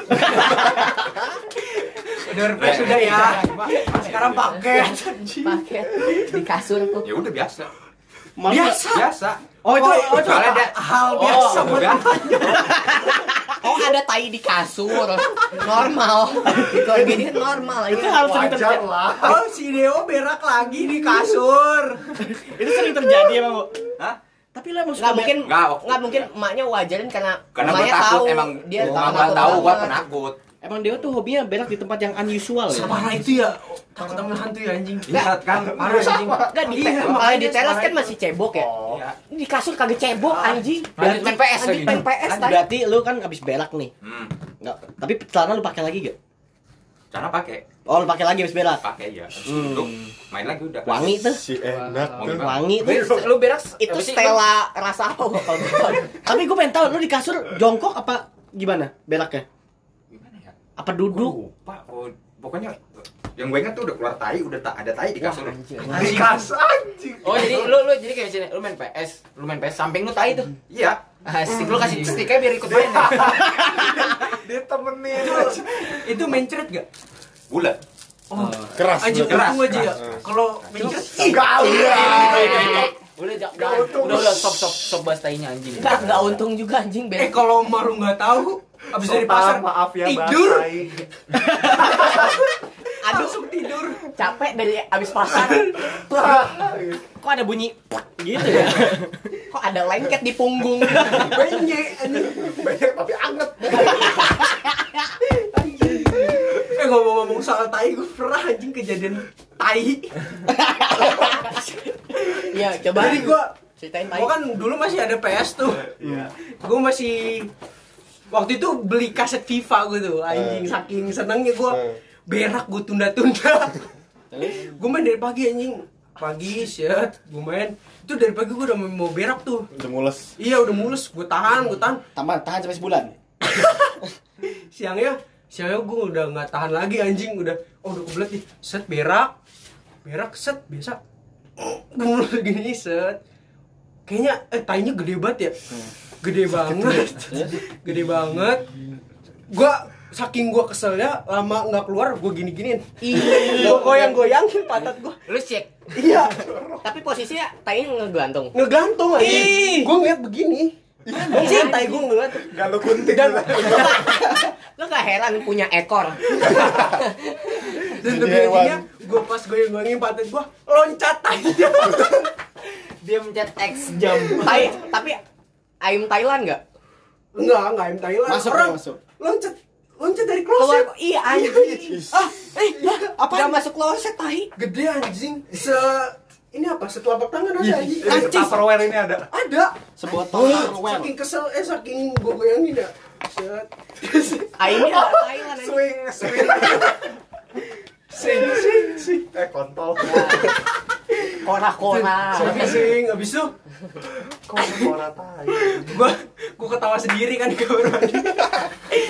[SPEAKER 7] Nah,
[SPEAKER 2] sudah ya. Kan
[SPEAKER 7] sekarang pak
[SPEAKER 2] Paket.
[SPEAKER 8] Paket di kasur tuh.
[SPEAKER 7] ya udah biasa
[SPEAKER 1] Malu-
[SPEAKER 2] Biasa.
[SPEAKER 7] biasa
[SPEAKER 1] Oh itu oh, itu
[SPEAKER 7] soalnya ada
[SPEAKER 2] Hal biasa
[SPEAKER 7] oh, udah.
[SPEAKER 8] Oh, ada tai di kasur. Normal. Itu gini normal. iya.
[SPEAKER 1] itu harus sering terjadi.
[SPEAKER 2] Oh, si Deo berak lagi di kasur.
[SPEAKER 1] Itu sering terjadi emang, Bu.
[SPEAKER 7] Hah?
[SPEAKER 1] Tapi lu emang suka
[SPEAKER 8] Nggak mungkin,
[SPEAKER 7] Nggak, waktu
[SPEAKER 8] nggak
[SPEAKER 7] itu
[SPEAKER 8] mungkin emaknya wajarin karena,
[SPEAKER 7] karena gue
[SPEAKER 8] emaknya
[SPEAKER 7] takut
[SPEAKER 8] tahu
[SPEAKER 7] emang
[SPEAKER 8] dia
[SPEAKER 7] dia gue
[SPEAKER 8] takut
[SPEAKER 7] tahu gue
[SPEAKER 8] banget.
[SPEAKER 7] penakut
[SPEAKER 1] Emang Dewa tuh hobinya berak di tempat yang unusual ya.
[SPEAKER 2] Separah itu ya. Takut sama hantu ya anjing.
[SPEAKER 7] lihat kan parah anjing
[SPEAKER 8] Enggak di,
[SPEAKER 2] Iya, Oh.
[SPEAKER 8] kalau di teras kan masih cebok ya.
[SPEAKER 7] Iya.
[SPEAKER 8] Ini Di kasur kagak cebok
[SPEAKER 2] Ah.
[SPEAKER 8] anjing.
[SPEAKER 7] Lanjut main PS
[SPEAKER 8] Lanjut
[SPEAKER 7] lagi.
[SPEAKER 8] main PS
[SPEAKER 1] Kan
[SPEAKER 8] tadi.
[SPEAKER 1] berarti lu kan abis berak nih.
[SPEAKER 7] hmm
[SPEAKER 1] Enggak, tapi celana lu pakai lagi gak?
[SPEAKER 7] cara pakai
[SPEAKER 1] Oh, lu pakai lagi abis berak.
[SPEAKER 7] pakai ya Habis
[SPEAKER 1] Hmm.
[SPEAKER 7] duduk main lagi udah
[SPEAKER 1] Wangi tuh.
[SPEAKER 5] Si enak
[SPEAKER 7] Mau
[SPEAKER 5] tuh.
[SPEAKER 7] gimana?
[SPEAKER 1] Wangi tuh.
[SPEAKER 8] Lu berak itu
[SPEAKER 1] Apa sih,
[SPEAKER 8] Stella rasa apa gua kalau berak?
[SPEAKER 1] Tapi gue pengen tahu lu di kasur jongkok apa gimana beraknya?
[SPEAKER 7] gimana ya
[SPEAKER 1] Apa
[SPEAKER 7] Gua
[SPEAKER 1] duduk?
[SPEAKER 7] lupa oh, pokoknya yang gue ingat tuh udah keluar tai udah ta- ada tai di kasur
[SPEAKER 4] Dikas anjing.
[SPEAKER 9] Oh jadi lu lu jadi kayak sini, lu main PS, lu main PS samping lu tai tuh.
[SPEAKER 7] iya
[SPEAKER 9] Asik lu kasih stick aja biar ikut main. ya.
[SPEAKER 4] Dia temenin.
[SPEAKER 2] Itu mencret gak?
[SPEAKER 7] bulat
[SPEAKER 5] Keras.
[SPEAKER 2] Aja
[SPEAKER 5] berarti.
[SPEAKER 2] untung aja ya. Kalau mencret ih,
[SPEAKER 4] Gaul.
[SPEAKER 9] Udah jangan
[SPEAKER 4] Nggak
[SPEAKER 9] jangan.
[SPEAKER 4] untung.
[SPEAKER 9] udah udah stop stop stop bahas tainya anjing.
[SPEAKER 8] Enggak, enggak untung juga anjing
[SPEAKER 2] eh
[SPEAKER 8] bel.
[SPEAKER 2] kalau malu nggak tahu abis dari pasar
[SPEAKER 4] maaf ya
[SPEAKER 2] tidur.
[SPEAKER 8] Aduh,
[SPEAKER 2] langsung tidur.
[SPEAKER 8] capek
[SPEAKER 1] Eh,
[SPEAKER 8] dari abis pasar. Tuh, kok ada bunyi plak gitu ya? Kok ada lengket di punggung?
[SPEAKER 4] Banyak tapi anget.
[SPEAKER 2] Eh ngomong-ngomong soal tai gue pernah anjing kejadian tai.
[SPEAKER 8] Iya, coba.
[SPEAKER 2] Jadi gua
[SPEAKER 8] ceritain
[SPEAKER 2] Gua kan dulu masih ada PS tuh.
[SPEAKER 5] Iya.
[SPEAKER 2] Gue masih waktu itu beli kaset FIFA gue tuh, anjing
[SPEAKER 5] Eh.
[SPEAKER 2] saking senengnya gue
[SPEAKER 5] Eh.
[SPEAKER 2] berak gue tunda-tunda. gue main dari pagi anjing, pagi set, gue main. Itu dari pagi gue udah mau berak tuh.
[SPEAKER 5] Udah mules.
[SPEAKER 2] Iya udah mulus, gue tahan, gue tahan.
[SPEAKER 3] Taman tahan sampai sebulan.
[SPEAKER 2] Siangnya, siangnya gue ya, udah nggak tahan lagi anjing, udah, oh udah kebelet nih, set berak, berak set biasa. Gue mulus gini set. Kayaknya eh tainya gede banget ya. Gede banget. gede banget gua saking gua keselnya lama nggak keluar gua gini giniin gua goyang goyangin pantat gua
[SPEAKER 9] Lu cek.
[SPEAKER 2] iya
[SPEAKER 8] Tapi posisinya tai ngegantung.
[SPEAKER 2] ngegantung aja gua ngeliat begini Anjing, Iya, tai gua ngeliat
[SPEAKER 4] Gak lu kuntik.
[SPEAKER 8] Lo gak heran punya ekor.
[SPEAKER 2] dan
[SPEAKER 5] Jadi
[SPEAKER 2] lebih
[SPEAKER 5] hewan.
[SPEAKER 2] anjingnya gua pas goyang goyangin pantat gua loncat aja
[SPEAKER 9] Dia mencet X jam.
[SPEAKER 8] Tai, tapi aim Thailand nggak?
[SPEAKER 2] enggak enggak em Thailand
[SPEAKER 3] Masuk,
[SPEAKER 2] orang
[SPEAKER 3] masuk.
[SPEAKER 2] loncat loncat dari ya.
[SPEAKER 8] Keluar,
[SPEAKER 2] kloset
[SPEAKER 8] iya anjing.
[SPEAKER 2] ah eh
[SPEAKER 8] Apa? Gak masuk kloset tai.
[SPEAKER 2] gede anjing se ini apa setelapak tangan ada
[SPEAKER 8] Iya,
[SPEAKER 2] anjing
[SPEAKER 4] Anjing. Tupperware ini ada.
[SPEAKER 2] ada
[SPEAKER 3] Sebotol Tupperware.
[SPEAKER 2] saking kesel eh saking gua goyangin ya set
[SPEAKER 8] Aimnya nggak Thailand anjing.
[SPEAKER 4] Swing, swing. Swing, swing, swing. Eh kontol.
[SPEAKER 8] Korak-korak.
[SPEAKER 2] Sing, abis itu
[SPEAKER 4] Kontol tai.
[SPEAKER 2] gua gua ketawa sendiri kan di kamar mandi.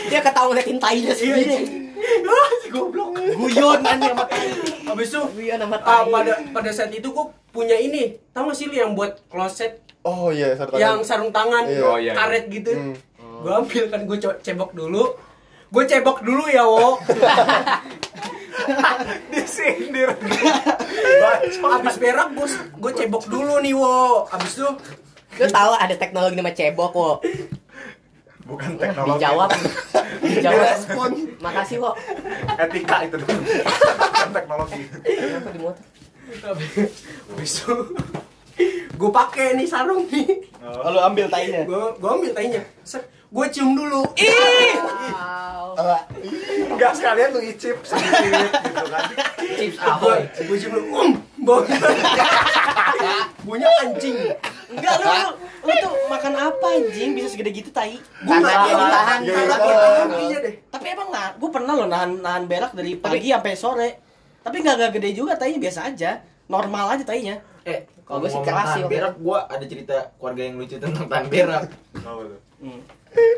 [SPEAKER 8] Dia ketawa ngeliatin
[SPEAKER 2] Iya,
[SPEAKER 8] tainya sendiri.
[SPEAKER 2] Ah, si goblok.
[SPEAKER 8] Guyon anjing sama tai.
[SPEAKER 2] Abis itu
[SPEAKER 8] Guyon sama
[SPEAKER 2] ah,
[SPEAKER 8] Iya, tai.
[SPEAKER 2] pada pada saat itu gua punya ini. Tahu gak sih lu yang buat kloset
[SPEAKER 5] Oh iya, sarung tangan.
[SPEAKER 2] yang sarung tangan
[SPEAKER 5] Iya.
[SPEAKER 7] Oh, iya, iya.
[SPEAKER 2] karet gitu.
[SPEAKER 5] Hmm.
[SPEAKER 2] Gua ambil kan gua co- cebok dulu. Gua cebok dulu ya, Wo.
[SPEAKER 4] Disindir.
[SPEAKER 2] Abis berak gua gua cebok dulu nih, Wo. Abis itu
[SPEAKER 8] Lu tahu ada teknologi nama cebok kok.
[SPEAKER 4] Bukan teknologi.
[SPEAKER 8] Dijawab. Dijawab.
[SPEAKER 4] Direspon.
[SPEAKER 8] Makasih kok.
[SPEAKER 4] Etika itu dong. Bukan teknologi.
[SPEAKER 8] Kenapa di motor?
[SPEAKER 2] abis itu gua pakai nih sarung nih.
[SPEAKER 3] Lalu ambil tainya.
[SPEAKER 2] Gua gua ambil tainya. Set, gua cium dulu. Ih!
[SPEAKER 4] Enggak sekalian lu icip sedikit gitu kan.
[SPEAKER 9] Chips
[SPEAKER 2] Gue
[SPEAKER 9] ahoy.
[SPEAKER 2] gue cium dulu, um, bau Bunyinya anjing.
[SPEAKER 8] Enggak lu, lu, lu tuh makan apa anjing bisa segede gitu tai?
[SPEAKER 2] Gue nggak
[SPEAKER 8] Karena
[SPEAKER 2] tahan,
[SPEAKER 8] dia ditahan.
[SPEAKER 5] Iya,
[SPEAKER 2] karena
[SPEAKER 5] iya.
[SPEAKER 2] gue tahan kayaknya deh.
[SPEAKER 1] Tapi emang nggak, gue pernah loh nahan nahan berak dari pagi sampai sore. Tapi nggak nggak gede juga tainya biasa aja, normal aja tainya.
[SPEAKER 9] Eh,
[SPEAKER 8] Kalau gua sih
[SPEAKER 9] ngomong
[SPEAKER 8] keras sih
[SPEAKER 9] tahan
[SPEAKER 8] waktu
[SPEAKER 9] berak, gua ada cerita keluarga yang lucu tentang tahan berak.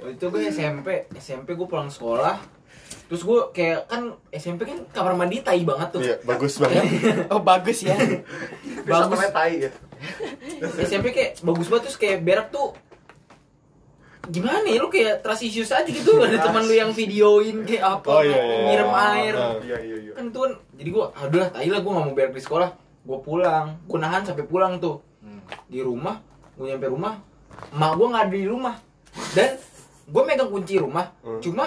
[SPEAKER 9] Waktu itu gue SMP, SMP gue pulang sekolah. Terus gue kayak kan SMP kan kamar mandi tai banget tuh.
[SPEAKER 5] Iya, bagus banget.
[SPEAKER 1] Oh bagus ya.
[SPEAKER 4] Bagus
[SPEAKER 9] Bagus.
[SPEAKER 4] tai ya.
[SPEAKER 9] SMP kayak bagus banget terus kayak berak tuh gimana ya lu kayak trust issues aja gitu ada teman lu yang videoin kayak apa
[SPEAKER 5] Oh, iya, iya.
[SPEAKER 9] ngirim air
[SPEAKER 5] Ah.
[SPEAKER 4] Iya iya iya.
[SPEAKER 9] kan tuh jadi gua aduh lah tai lah gua nggak mau berak di sekolah gua pulang gua nahan sampai pulang tuh
[SPEAKER 5] Hmm.
[SPEAKER 9] di rumah gua nyampe rumah emak gua nggak ada di rumah dan gua megang kunci rumah
[SPEAKER 5] Hmm.
[SPEAKER 9] cuma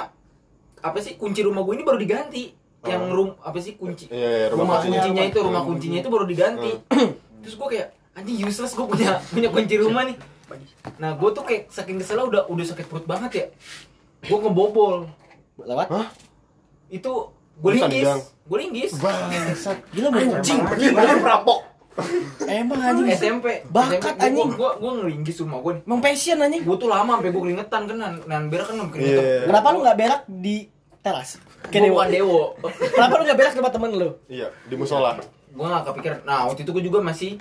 [SPEAKER 9] apa sih kunci rumah gua ini baru diganti yang
[SPEAKER 5] Oh.
[SPEAKER 9] rum apa sih kunci
[SPEAKER 5] Iya, iya, kuncinya.
[SPEAKER 9] rumah, kuncinya itu rumah kuncinya itu baru diganti terus gue kayak anjing useless gue punya punya kunci rumah nih nah gue tuh kayak saking kesel udah udah sakit perut banget ya gue ngebobol
[SPEAKER 1] Lewat.
[SPEAKER 5] Hah?
[SPEAKER 9] itu gue
[SPEAKER 5] Bukan,
[SPEAKER 9] linggis
[SPEAKER 5] Bang.
[SPEAKER 9] gue linggis
[SPEAKER 5] Bangsat.
[SPEAKER 1] Gila bener.
[SPEAKER 4] Anjing, gimana perampok?
[SPEAKER 1] Emang anjing.
[SPEAKER 9] SMP
[SPEAKER 1] Bakat, anjing.
[SPEAKER 9] gue gue ngelinggis rumah gue nih
[SPEAKER 1] Emang passion anjing.
[SPEAKER 9] gue tuh lama sampai gue keringetan kan nan nan berak kan nggak keringetan
[SPEAKER 5] Iya.
[SPEAKER 1] Kenapa lu nggak berak di teras?
[SPEAKER 9] gue
[SPEAKER 1] Kayak dewa.
[SPEAKER 9] bukan dewo
[SPEAKER 1] Kenapa lu nggak berak di tempat temen lu?
[SPEAKER 5] Iya, di musola.
[SPEAKER 9] gue nggak kepikiran nah waktu itu gue juga masih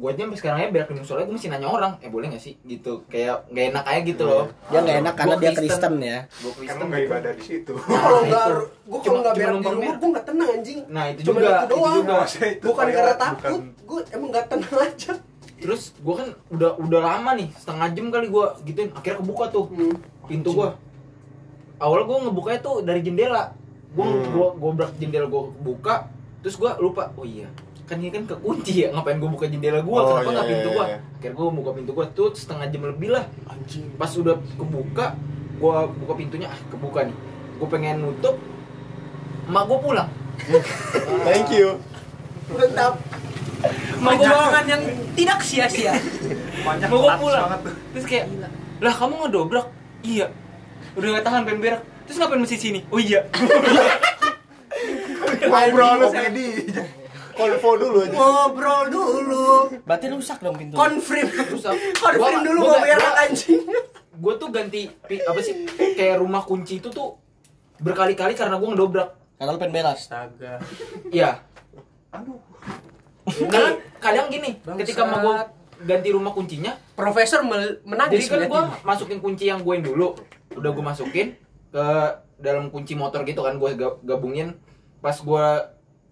[SPEAKER 9] gue aja sampai sekarang ya biar ke musola gue mesti nanya orang eh boleh gak sih gitu kayak gak enak aja gitu loh
[SPEAKER 1] Dia Iya. Ya, nggak enak karena
[SPEAKER 9] Gua
[SPEAKER 1] dia Kristen ya.
[SPEAKER 9] gue
[SPEAKER 4] Karena
[SPEAKER 9] Kristen
[SPEAKER 4] nggak ibadah di situ.
[SPEAKER 2] Gua kalau
[SPEAKER 9] Nah,
[SPEAKER 2] nggak
[SPEAKER 9] itu.
[SPEAKER 2] gue
[SPEAKER 9] Cuma-
[SPEAKER 2] kalau nggak berak
[SPEAKER 9] cuma
[SPEAKER 2] di
[SPEAKER 9] numpang
[SPEAKER 2] rumah
[SPEAKER 9] merah.
[SPEAKER 2] gue nggak tenang anjing
[SPEAKER 9] nah itu
[SPEAKER 2] Cuma
[SPEAKER 9] juga
[SPEAKER 2] itu
[SPEAKER 9] itu
[SPEAKER 2] doang.
[SPEAKER 9] juga
[SPEAKER 4] Itu
[SPEAKER 2] bukan
[SPEAKER 4] toilet,
[SPEAKER 2] karena
[SPEAKER 4] bukan-
[SPEAKER 2] takut gue emang nggak tenang aja
[SPEAKER 9] terus gue kan udah udah lama nih setengah jam kali gue gituin akhirnya kebuka tuh
[SPEAKER 2] Hmm.
[SPEAKER 9] pintu gue awal gue ngebukanya tuh dari jendela gue gua gobrak jendela gue buka terus gue lupa oh iya kan ini kan kekunci ya ngapain gue buka jendela gue
[SPEAKER 5] Oh, iya,
[SPEAKER 9] kenapa nggak
[SPEAKER 5] iya,
[SPEAKER 9] pintu gue
[SPEAKER 5] iya.
[SPEAKER 9] akhirnya gue buka pintu gue tuh setengah jam lebih lah pas udah kebuka gue buka pintunya ah kebuka nih gue pengen nutup emak gue pulang
[SPEAKER 5] Thank you.
[SPEAKER 2] mantap
[SPEAKER 9] Perjuangan
[SPEAKER 8] yang tidak sia-sia.
[SPEAKER 4] Banyak
[SPEAKER 9] Mau gua
[SPEAKER 4] touch
[SPEAKER 9] pulang.
[SPEAKER 4] banget tuh.
[SPEAKER 9] terus kayak lah kamu ngedobrak iya udah nggak tahan pengen berak terus ngapain mesti sini oh iya
[SPEAKER 5] Ngobrol Oh.
[SPEAKER 4] Komedi.
[SPEAKER 5] konvo dulu aja.
[SPEAKER 2] ngobrol dulu
[SPEAKER 1] Berarti rusak dong pintu.
[SPEAKER 2] konfirm
[SPEAKER 9] Rusak.
[SPEAKER 2] konfirm
[SPEAKER 9] Gua-
[SPEAKER 2] dulu
[SPEAKER 9] gua
[SPEAKER 2] mau
[SPEAKER 9] nggak-
[SPEAKER 2] berak
[SPEAKER 9] gua-
[SPEAKER 2] anjing
[SPEAKER 9] gue tuh ganti pi- apa sih kayak rumah kunci itu tuh berkali-kali karena gue ngedobrak
[SPEAKER 1] Karena lu pengen berak.
[SPEAKER 2] astaga
[SPEAKER 9] iya
[SPEAKER 4] Aduh.
[SPEAKER 9] karena kadang gini
[SPEAKER 2] Bangsat.
[SPEAKER 9] ketika emak gue ganti rumah kuncinya
[SPEAKER 2] profesor mel- menagih
[SPEAKER 9] jadi kan gue
[SPEAKER 2] sebenarnya.
[SPEAKER 9] masukin kunci yang gue dulu udah gue masukin ke dalam kunci motor gitu kan gue gabungin pas gue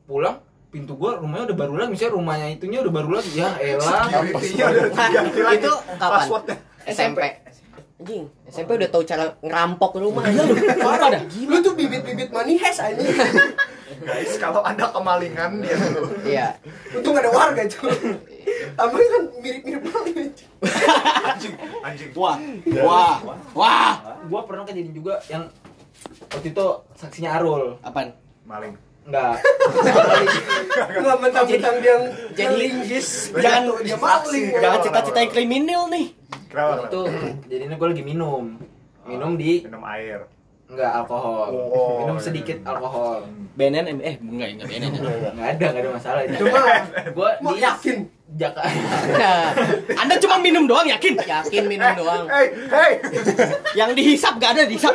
[SPEAKER 9] pulang pintu gue rumahnya udah baru lagi misalnya rumahnya itunya udah baru lagi ya elah
[SPEAKER 4] Security-nya udah diganti lagi.
[SPEAKER 8] Nah, itu kapan?
[SPEAKER 4] Passwordnya.
[SPEAKER 8] SMP. Anjing, SMP udah tahu cara ngerampok rumah.
[SPEAKER 1] Parah dah.
[SPEAKER 2] lu tuh bibit-bibit manihes anjing
[SPEAKER 4] Guys, kalau ada kemalingan dia dulu.
[SPEAKER 8] Iya.
[SPEAKER 2] untung ada warga cuy abang kan mirip-mirip banget anjing.
[SPEAKER 4] Anjing, anjing.
[SPEAKER 1] Wah. Wah. Wah.
[SPEAKER 9] gue pernah kejadian juga yang waktu itu saksinya Arul
[SPEAKER 1] Apaan?
[SPEAKER 4] Maling.
[SPEAKER 9] Enggak.
[SPEAKER 2] nggak mentang-mentang dia
[SPEAKER 8] jadi-
[SPEAKER 2] linggis
[SPEAKER 1] Jangan-
[SPEAKER 2] dia maling
[SPEAKER 1] Jangan cita-citain kriminal nih.
[SPEAKER 4] Kenapa?
[SPEAKER 9] itu jadinya gue lagi minum. Minum di
[SPEAKER 4] minum air.
[SPEAKER 9] enggak alkohol.
[SPEAKER 5] Oh.
[SPEAKER 9] minum sedikit alkohol.
[SPEAKER 1] BNN eh enggak enggak BNN.
[SPEAKER 9] Enggak ada, enggak ada masalah itu.
[SPEAKER 2] cuma
[SPEAKER 9] gue
[SPEAKER 2] mau
[SPEAKER 9] di
[SPEAKER 2] yakin
[SPEAKER 9] Jakarta.
[SPEAKER 8] Nah,
[SPEAKER 1] Anda cuma minum doang yakin? Ya.
[SPEAKER 8] yakin minum doang.
[SPEAKER 4] Hey, hey.
[SPEAKER 1] Yang dihisap gak ada dihisap.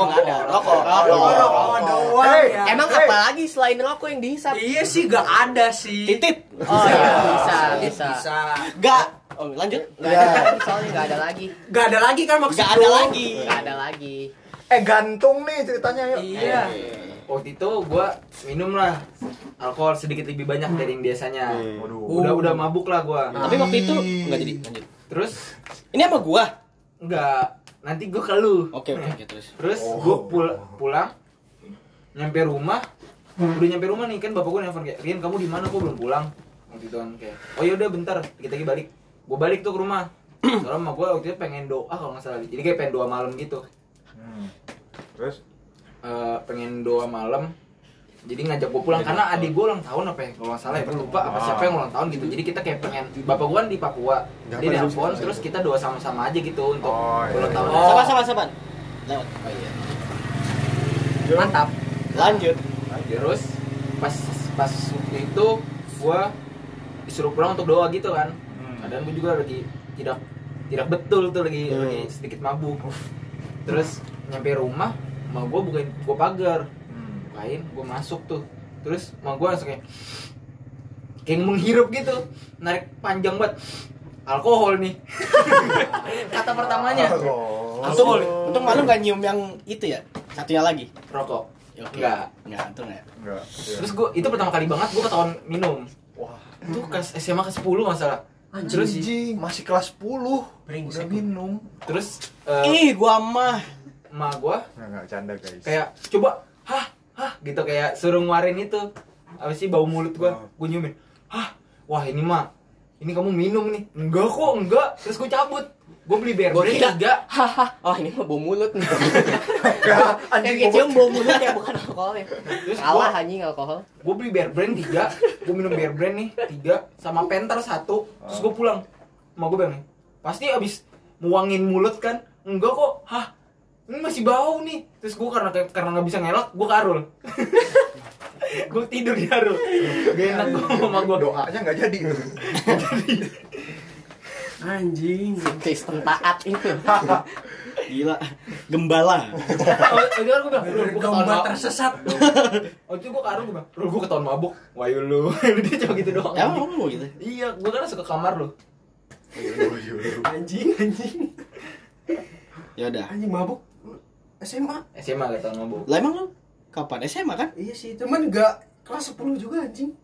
[SPEAKER 1] Oh enggak ada. Rokok. Rokok.
[SPEAKER 2] Oh, doang
[SPEAKER 4] Hey,
[SPEAKER 2] ya.
[SPEAKER 8] Emang
[SPEAKER 4] Hey.
[SPEAKER 8] apa lagi selain rokok yang dihisap?
[SPEAKER 2] iya sih gak ada sih
[SPEAKER 1] Titit.
[SPEAKER 8] Oh iya, bisa, bisa.
[SPEAKER 2] bisa
[SPEAKER 1] Enggak. Oh, lanjut.
[SPEAKER 8] Gak
[SPEAKER 5] Ya.
[SPEAKER 8] ada lagi, soalnya gak ada lagi.
[SPEAKER 2] gak ada lagi kan maksud
[SPEAKER 1] Enggak ada
[SPEAKER 2] lu?
[SPEAKER 1] lagi.
[SPEAKER 8] Gak ada lagi.
[SPEAKER 4] Eh, gantung nih ceritanya yuk.
[SPEAKER 2] iya
[SPEAKER 9] Waktu itu gue minum lah alkohol sedikit lebih banyak dari yang biasanya.
[SPEAKER 4] Waduh.
[SPEAKER 9] Udah udah mabuk lah gue.
[SPEAKER 1] Tapi waktu itu enggak jadi lanjut.
[SPEAKER 9] Terus
[SPEAKER 1] Ini sama gua.
[SPEAKER 9] enggak nanti gue keluh.
[SPEAKER 1] Oke, oke, oke terus.
[SPEAKER 9] Terus gue pulang nyampe rumah udah nyampe rumah nih kan bapak gue nelfon kayak Rian kamu di mana kok belum pulang waktu itu kan kayak oh ya udah bentar kita lagi balik gue balik tuh ke rumah soalnya emak gue waktu itu pengen doa kalau nggak salah jadi kayak pengen doa malam gitu
[SPEAKER 4] Hmm. Terus
[SPEAKER 9] Eh, pengen doa malam jadi ngajak gue pulang karena adik gue ulang tahun apa ya kalau nggak salah ya gue lupa apa siapa yang ulang tahun gitu jadi kita kayak pengen bapak gue kan di Papua
[SPEAKER 5] Nggak
[SPEAKER 9] dia
[SPEAKER 5] apa-apa,
[SPEAKER 9] nelfon
[SPEAKER 5] sih.
[SPEAKER 9] terus kita doa sama-sama aja gitu untuk
[SPEAKER 4] Oh, iya,
[SPEAKER 9] ulang
[SPEAKER 4] iya.
[SPEAKER 9] tahun
[SPEAKER 1] Sabar, sabar, sabar. Lewat. Oh iya.
[SPEAKER 9] mantap
[SPEAKER 1] Lanjut.
[SPEAKER 9] terus pas pas waktu itu gua disuruh pulang untuk doa gitu kan
[SPEAKER 4] Hmm.
[SPEAKER 9] kadang gua juga lagi tidak tidak betul tuh lagi
[SPEAKER 5] Hmm.
[SPEAKER 9] lagi sedikit mabuk terus nyampe rumah mau gua bukain gua pagar
[SPEAKER 4] hmm.
[SPEAKER 9] bukain gua masuk tuh terus mau gua langsung kayak kayak menghirup gitu narik panjang banget alkohol nih kata pertamanya
[SPEAKER 1] Untung,
[SPEAKER 9] alkohol
[SPEAKER 1] untung malu gak nyium yang itu ya. Satunya lagi.
[SPEAKER 9] rokok
[SPEAKER 1] Ya, Oke.
[SPEAKER 9] Nggak.
[SPEAKER 1] Enggak, untung ya.
[SPEAKER 4] enggak. Iya.
[SPEAKER 9] Terus gue itu pertama kali banget gue ketahuan minum. Wah. Itu kelas SMA ke 10 masalah. Terus
[SPEAKER 4] Anjing, masih kelas 10. Udah minum.
[SPEAKER 9] terus
[SPEAKER 1] Ih,
[SPEAKER 9] eh
[SPEAKER 1] gua mah.
[SPEAKER 9] ma gue
[SPEAKER 4] Enggak, enggak canda, guys.
[SPEAKER 9] kayak coba hah hah gitu kayak suruh ngeluarin itu apa sih bau mulut gue gue nyiumin hah wah ini mah ini kamu minum nih enggak kok enggak terus gue cabut gue beli bear
[SPEAKER 8] Gua
[SPEAKER 9] brand
[SPEAKER 8] kira.
[SPEAKER 9] tiga
[SPEAKER 8] Haha, oh ini mah bau mulut nih.
[SPEAKER 4] Enggak,
[SPEAKER 8] Yang kecium bau mulut ya bukan alkoholnya.
[SPEAKER 9] Terus
[SPEAKER 8] Salah
[SPEAKER 9] gua-
[SPEAKER 8] anjing alkohol.
[SPEAKER 9] gue beli bear brand tiga gue minum bear brand nih tiga sama pentar satu terus gue pulang mau gue bilang pasti abis muangin mulut kan enggak kok hah ini masih bau nih terus gue karena karena nggak bisa ngelak gue karul gue tidur di karul gak enak gue sama gue
[SPEAKER 4] Doanya enggak jadi.
[SPEAKER 2] anjing
[SPEAKER 8] Kristen taat ini.
[SPEAKER 1] Gila. Gembala.
[SPEAKER 9] oh, itu kan gue bilang, lu gue ketahuan
[SPEAKER 2] Domba
[SPEAKER 9] mabuk.
[SPEAKER 2] tersesat.
[SPEAKER 9] Oh itu gue ke Arul gue bilang, lu gue ketahuan mabuk. Wahyu lu, dia cuma gitu doang.
[SPEAKER 1] Emang
[SPEAKER 9] anjing.
[SPEAKER 1] kamu mau gitu?
[SPEAKER 9] Iya, gue kan suka kamar lu.
[SPEAKER 2] Anjing, anjing.
[SPEAKER 1] Ya udah.
[SPEAKER 2] Anjing mabuk. SMA.
[SPEAKER 9] SMA gak ketahuan mabuk.
[SPEAKER 1] Lah emang lu kapan SMA kan?
[SPEAKER 2] Iya sih, cuman enggak kelas 10 juga anjing.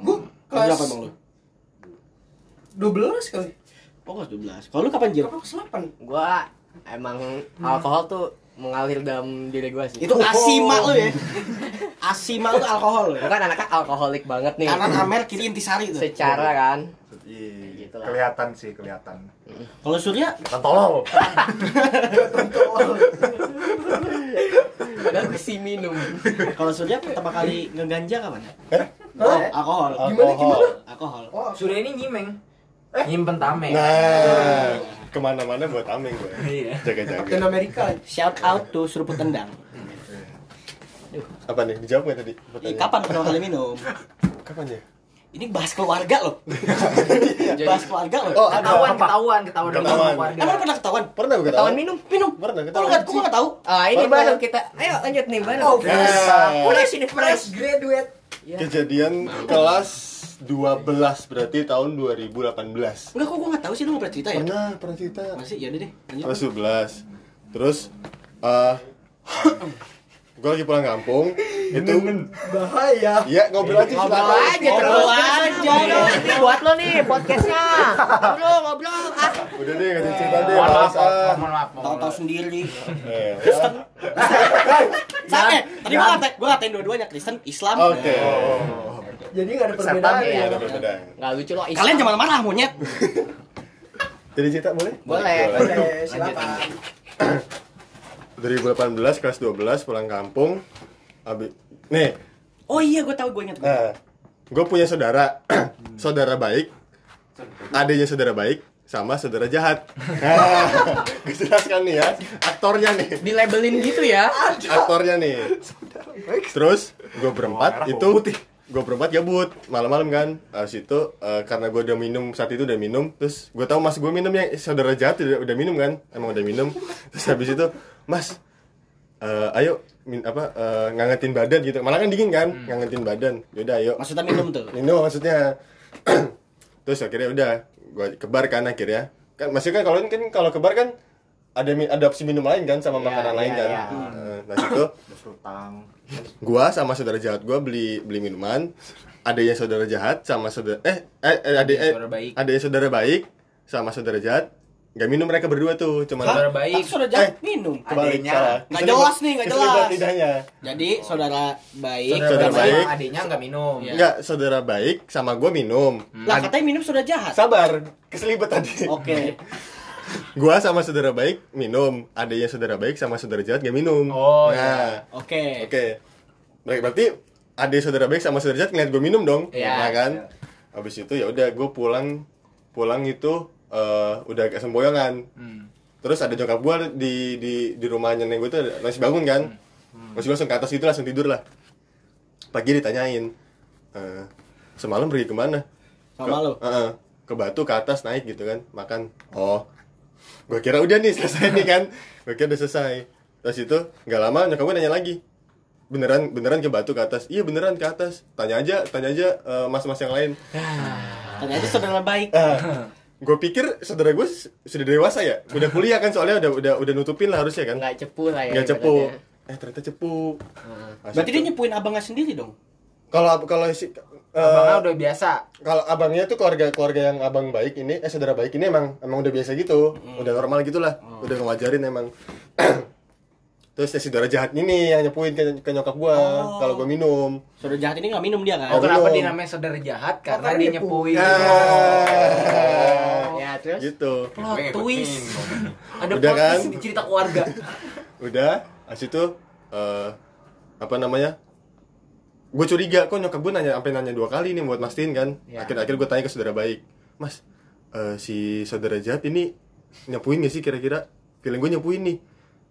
[SPEAKER 2] Gua
[SPEAKER 1] Kelas
[SPEAKER 2] kelas
[SPEAKER 1] berapa emang lu?
[SPEAKER 2] 12 kali.
[SPEAKER 1] Oh, kelas 12. Kalau lu kapan, Jir?
[SPEAKER 2] Apa kelas 8?
[SPEAKER 8] Gua emang alkohol tuh mengalir dalam diri gua sih.
[SPEAKER 1] Itu asima lu ya. Asima lu alkohol lu.
[SPEAKER 8] Bukan kan anaknya alkoholik banget nih.
[SPEAKER 1] Kanan Amer kiri intisari tuh.
[SPEAKER 8] Secara kan.
[SPEAKER 4] Iya,
[SPEAKER 8] Gitu lah.
[SPEAKER 4] kelihatan sih kelihatan.
[SPEAKER 1] Kalau Surya
[SPEAKER 4] Kan tolol.
[SPEAKER 8] Padahal gua sih minum.
[SPEAKER 1] Kalau Surya pertama kali ngeganja kapan? ya? Oh,
[SPEAKER 2] Hah?
[SPEAKER 1] Alkohol.
[SPEAKER 5] Alkohol.
[SPEAKER 1] Alkohol.
[SPEAKER 2] Eh? Oh,
[SPEAKER 9] Surya ini nyimeng. Nyimpen tameng.
[SPEAKER 5] Nah, kemana-mana buat tameng gue.
[SPEAKER 9] Iya.
[SPEAKER 2] Captain
[SPEAKER 5] Jaga-jaga.
[SPEAKER 2] Amerika.
[SPEAKER 1] Shout out to seruput tendang.
[SPEAKER 5] Apa nih? Dijawab nggak tadi?
[SPEAKER 1] Ih,
[SPEAKER 5] pertanyaan?
[SPEAKER 1] kapan pertama kali minum?
[SPEAKER 5] Kapan ya?
[SPEAKER 1] Ini bahas keluarga loh. bahas keluarga loh.
[SPEAKER 5] Oh, ada
[SPEAKER 9] Ketahuan,
[SPEAKER 5] apa?
[SPEAKER 9] ketahuan, ketahuan dulu
[SPEAKER 5] Ketahuan.
[SPEAKER 9] sama keluarga.
[SPEAKER 1] Emang lu pernah ketahuan?
[SPEAKER 5] Pernah gue
[SPEAKER 8] Ketahuan minum, minum.
[SPEAKER 5] Pernah
[SPEAKER 1] Kok lu
[SPEAKER 5] ketahuan.
[SPEAKER 1] nggak? Gua nggak tahu.
[SPEAKER 8] Ah, ini
[SPEAKER 5] Pernah.
[SPEAKER 8] baru kita. Ayo lanjut nih baru.
[SPEAKER 2] Oh,
[SPEAKER 5] Nah.
[SPEAKER 8] fresh ini fresh.
[SPEAKER 2] graduate.
[SPEAKER 1] Ya.
[SPEAKER 5] Kejadian kelas 12 berarti tahun 2018.
[SPEAKER 1] Enggak kok gua nggak tahu sih lu nggak pernah cerita ya.
[SPEAKER 5] Pernah, pernah cerita.
[SPEAKER 1] Masih ya udah deh. Lanjut.
[SPEAKER 5] Kelas 12. Terus eh gue lagi pulang kampung itu
[SPEAKER 9] Ah,
[SPEAKER 2] Bahaya.
[SPEAKER 5] Iya, ngobrol aja
[SPEAKER 8] Ngobrol
[SPEAKER 5] silakan.
[SPEAKER 8] aja terus.
[SPEAKER 1] Ngobrol aja dong.
[SPEAKER 8] Ini buat lo nih podcastnya. Ngobrol, ngobrol. Ah,
[SPEAKER 5] Udah deh, enggak cerita deh.
[SPEAKER 9] Mohon maaf,
[SPEAKER 5] Males ah.
[SPEAKER 9] mohon maaf. mohon
[SPEAKER 1] Tahu-tahu
[SPEAKER 9] maaf.
[SPEAKER 1] sendiri.
[SPEAKER 5] Eh, ya.
[SPEAKER 1] Sama eh, tadi gua ngatain gua ngatain dua-duanya Kristen, Islam.
[SPEAKER 5] Oke.
[SPEAKER 9] Oh.
[SPEAKER 2] Jadi enggak ada
[SPEAKER 4] Setan
[SPEAKER 2] perbedaan
[SPEAKER 5] Iya,
[SPEAKER 2] ya.
[SPEAKER 5] ada perbedaan.
[SPEAKER 8] nggak lucu lo. Islam.
[SPEAKER 1] Kalian jangan marah monyet.
[SPEAKER 5] Jadi cerita boleh?
[SPEAKER 8] Boleh.
[SPEAKER 2] Boleh, silakan.
[SPEAKER 5] 2018 kelas 12 pulang kampung. Abi nih,
[SPEAKER 1] Oh iya, gua tahu, gua ingat. gua.
[SPEAKER 5] nah, gue punya saudara, saudara baik, adanya saudara baik, sama saudara jahat. Nah, gue jelaskan nih ya, aktornya nih,
[SPEAKER 8] Di labelin gitu ya.
[SPEAKER 5] aktornya nih. Terus gue
[SPEAKER 4] Bawang
[SPEAKER 5] berempat
[SPEAKER 4] merah,
[SPEAKER 5] itu Gue berempat gabut malam-malam kan. Habis itu eh, karena gue udah minum saat itu udah minum, terus gue tahu mas gue minum yang saudara jahat udah, udah minum kan, emang udah minum. Terus habis itu mas eh, ayo min, apa eh, ngangetin badan gitu. Malah kan dingin kan, ngangetin badan. Yaudah ayo.
[SPEAKER 1] Maksudnya minum tuh.
[SPEAKER 5] Nino maksudnya terus akhirnya udah gue kebar kan akhirnya kan masih kan kalau kan kalau kebar kan ada mi- ada opsi minum lain
[SPEAKER 1] Ya,
[SPEAKER 5] kan sama makanan lain kan Eh, nah situ
[SPEAKER 4] Berutang.
[SPEAKER 5] gua sama saudara jahat gua beli beli minuman adanya saudara jahat sama saudara eh eh eh, ada eh,
[SPEAKER 9] saudara baik.
[SPEAKER 5] adanya saudara baik sama saudara jahat nggak minum mereka berdua tuh cuma
[SPEAKER 9] Saudara baik.
[SPEAKER 1] Tapi saudara jahat minum.
[SPEAKER 5] kebalik
[SPEAKER 7] Adanya.
[SPEAKER 5] salah
[SPEAKER 1] Nggak
[SPEAKER 5] Keselibat-
[SPEAKER 1] jelas nih, nggak
[SPEAKER 5] keselibat
[SPEAKER 1] jelas.
[SPEAKER 5] lidahnya
[SPEAKER 1] Jadi saudara baik.
[SPEAKER 5] Saudara
[SPEAKER 9] Saudara baik.
[SPEAKER 5] baik.
[SPEAKER 9] Adiknya nggak minum.
[SPEAKER 1] Iya.
[SPEAKER 5] nggak saudara baik sama gua minum
[SPEAKER 1] Lah katanya minum saudara jahat.
[SPEAKER 5] sabar keselibet tadi
[SPEAKER 1] Hmm. Oke.
[SPEAKER 5] gua sama saudara baik minum adanya saudara baik sama saudara jahat gak minum
[SPEAKER 9] Oh,
[SPEAKER 5] nah
[SPEAKER 1] Oke.
[SPEAKER 5] oke Ber- berarti adik saudara baik sama saudara jahat ngeliat gue minum dong
[SPEAKER 9] Iya.
[SPEAKER 5] ya kan habis itu ya udah gue pulang pulang itu eh, udah agak semboyongan
[SPEAKER 9] Hmm.
[SPEAKER 5] terus ada nyokap gue di di di rumahnya nenek gue tuh ada- masih bangun kan
[SPEAKER 9] Hmm.
[SPEAKER 5] masih langsung ke atas gitu langsung tidur lah pagi ditanyain eh, semalam pergi kemana
[SPEAKER 1] Sama
[SPEAKER 5] Ke-
[SPEAKER 1] lu.
[SPEAKER 5] Heeh. ke batu ke atas naik gitu kan makan oh gue kira udah nih selesai nih kan gue kira udah selesai terus itu nggak lama nyokap gue nanya lagi beneran beneran ke batu ke atas iya beneran ke atas tanya aja tanya aja eh, mas-mas yang lain
[SPEAKER 1] Ternyata saudara baik.
[SPEAKER 5] Eh. gue pikir saudara gue s- sudah dewasa ya udah kuliah kan soalnya udah udah udah nutupin lah harusnya kan
[SPEAKER 1] iya,
[SPEAKER 8] Nggak cepu lah ya.
[SPEAKER 5] nggak cepu
[SPEAKER 8] ibaratnya.
[SPEAKER 5] eh ternyata cepu Nah,
[SPEAKER 1] Berarti dia
[SPEAKER 5] situ-
[SPEAKER 1] nyepuin abangnya sendiri dong.
[SPEAKER 5] kalau ab- kalau si eh,
[SPEAKER 9] Abangnya udah biasa.
[SPEAKER 5] kalau abangnya tuh keluarga keluarga yang abang baik ini eh saudara baik ini emang emang udah biasa gitu
[SPEAKER 9] Hmm.
[SPEAKER 5] udah normal gitulah udah ngewajarin emang terus ya saudara jahat ini yang nyepuin ke, ke nyokap gua kalau gua minum
[SPEAKER 1] Saudara jahat ini nggak minum dia kan?
[SPEAKER 5] Nggak
[SPEAKER 9] Oh kenapa
[SPEAKER 5] minum.
[SPEAKER 9] dia namanya saudara jahat? Karena
[SPEAKER 2] karena
[SPEAKER 9] dia
[SPEAKER 2] dia
[SPEAKER 9] nyepuin.
[SPEAKER 5] Ah.
[SPEAKER 8] Ya terus.
[SPEAKER 5] gitu
[SPEAKER 7] Gue ngikut
[SPEAKER 1] twist.
[SPEAKER 7] minum.
[SPEAKER 9] Ada
[SPEAKER 5] Udah
[SPEAKER 9] plot twist
[SPEAKER 5] kan?
[SPEAKER 9] di cerita keluarga.
[SPEAKER 5] udah as itu eh, apa namanya gue curiga kok nyokap gue nanya sampai nanya dua kali nih buat mastiin kan
[SPEAKER 9] Ya.
[SPEAKER 5] akhir-akhir gue tanya ke saudara baik mas eh, si saudara jahat ini nyapuin gak sih kira-kira feeling gue nyapuin nih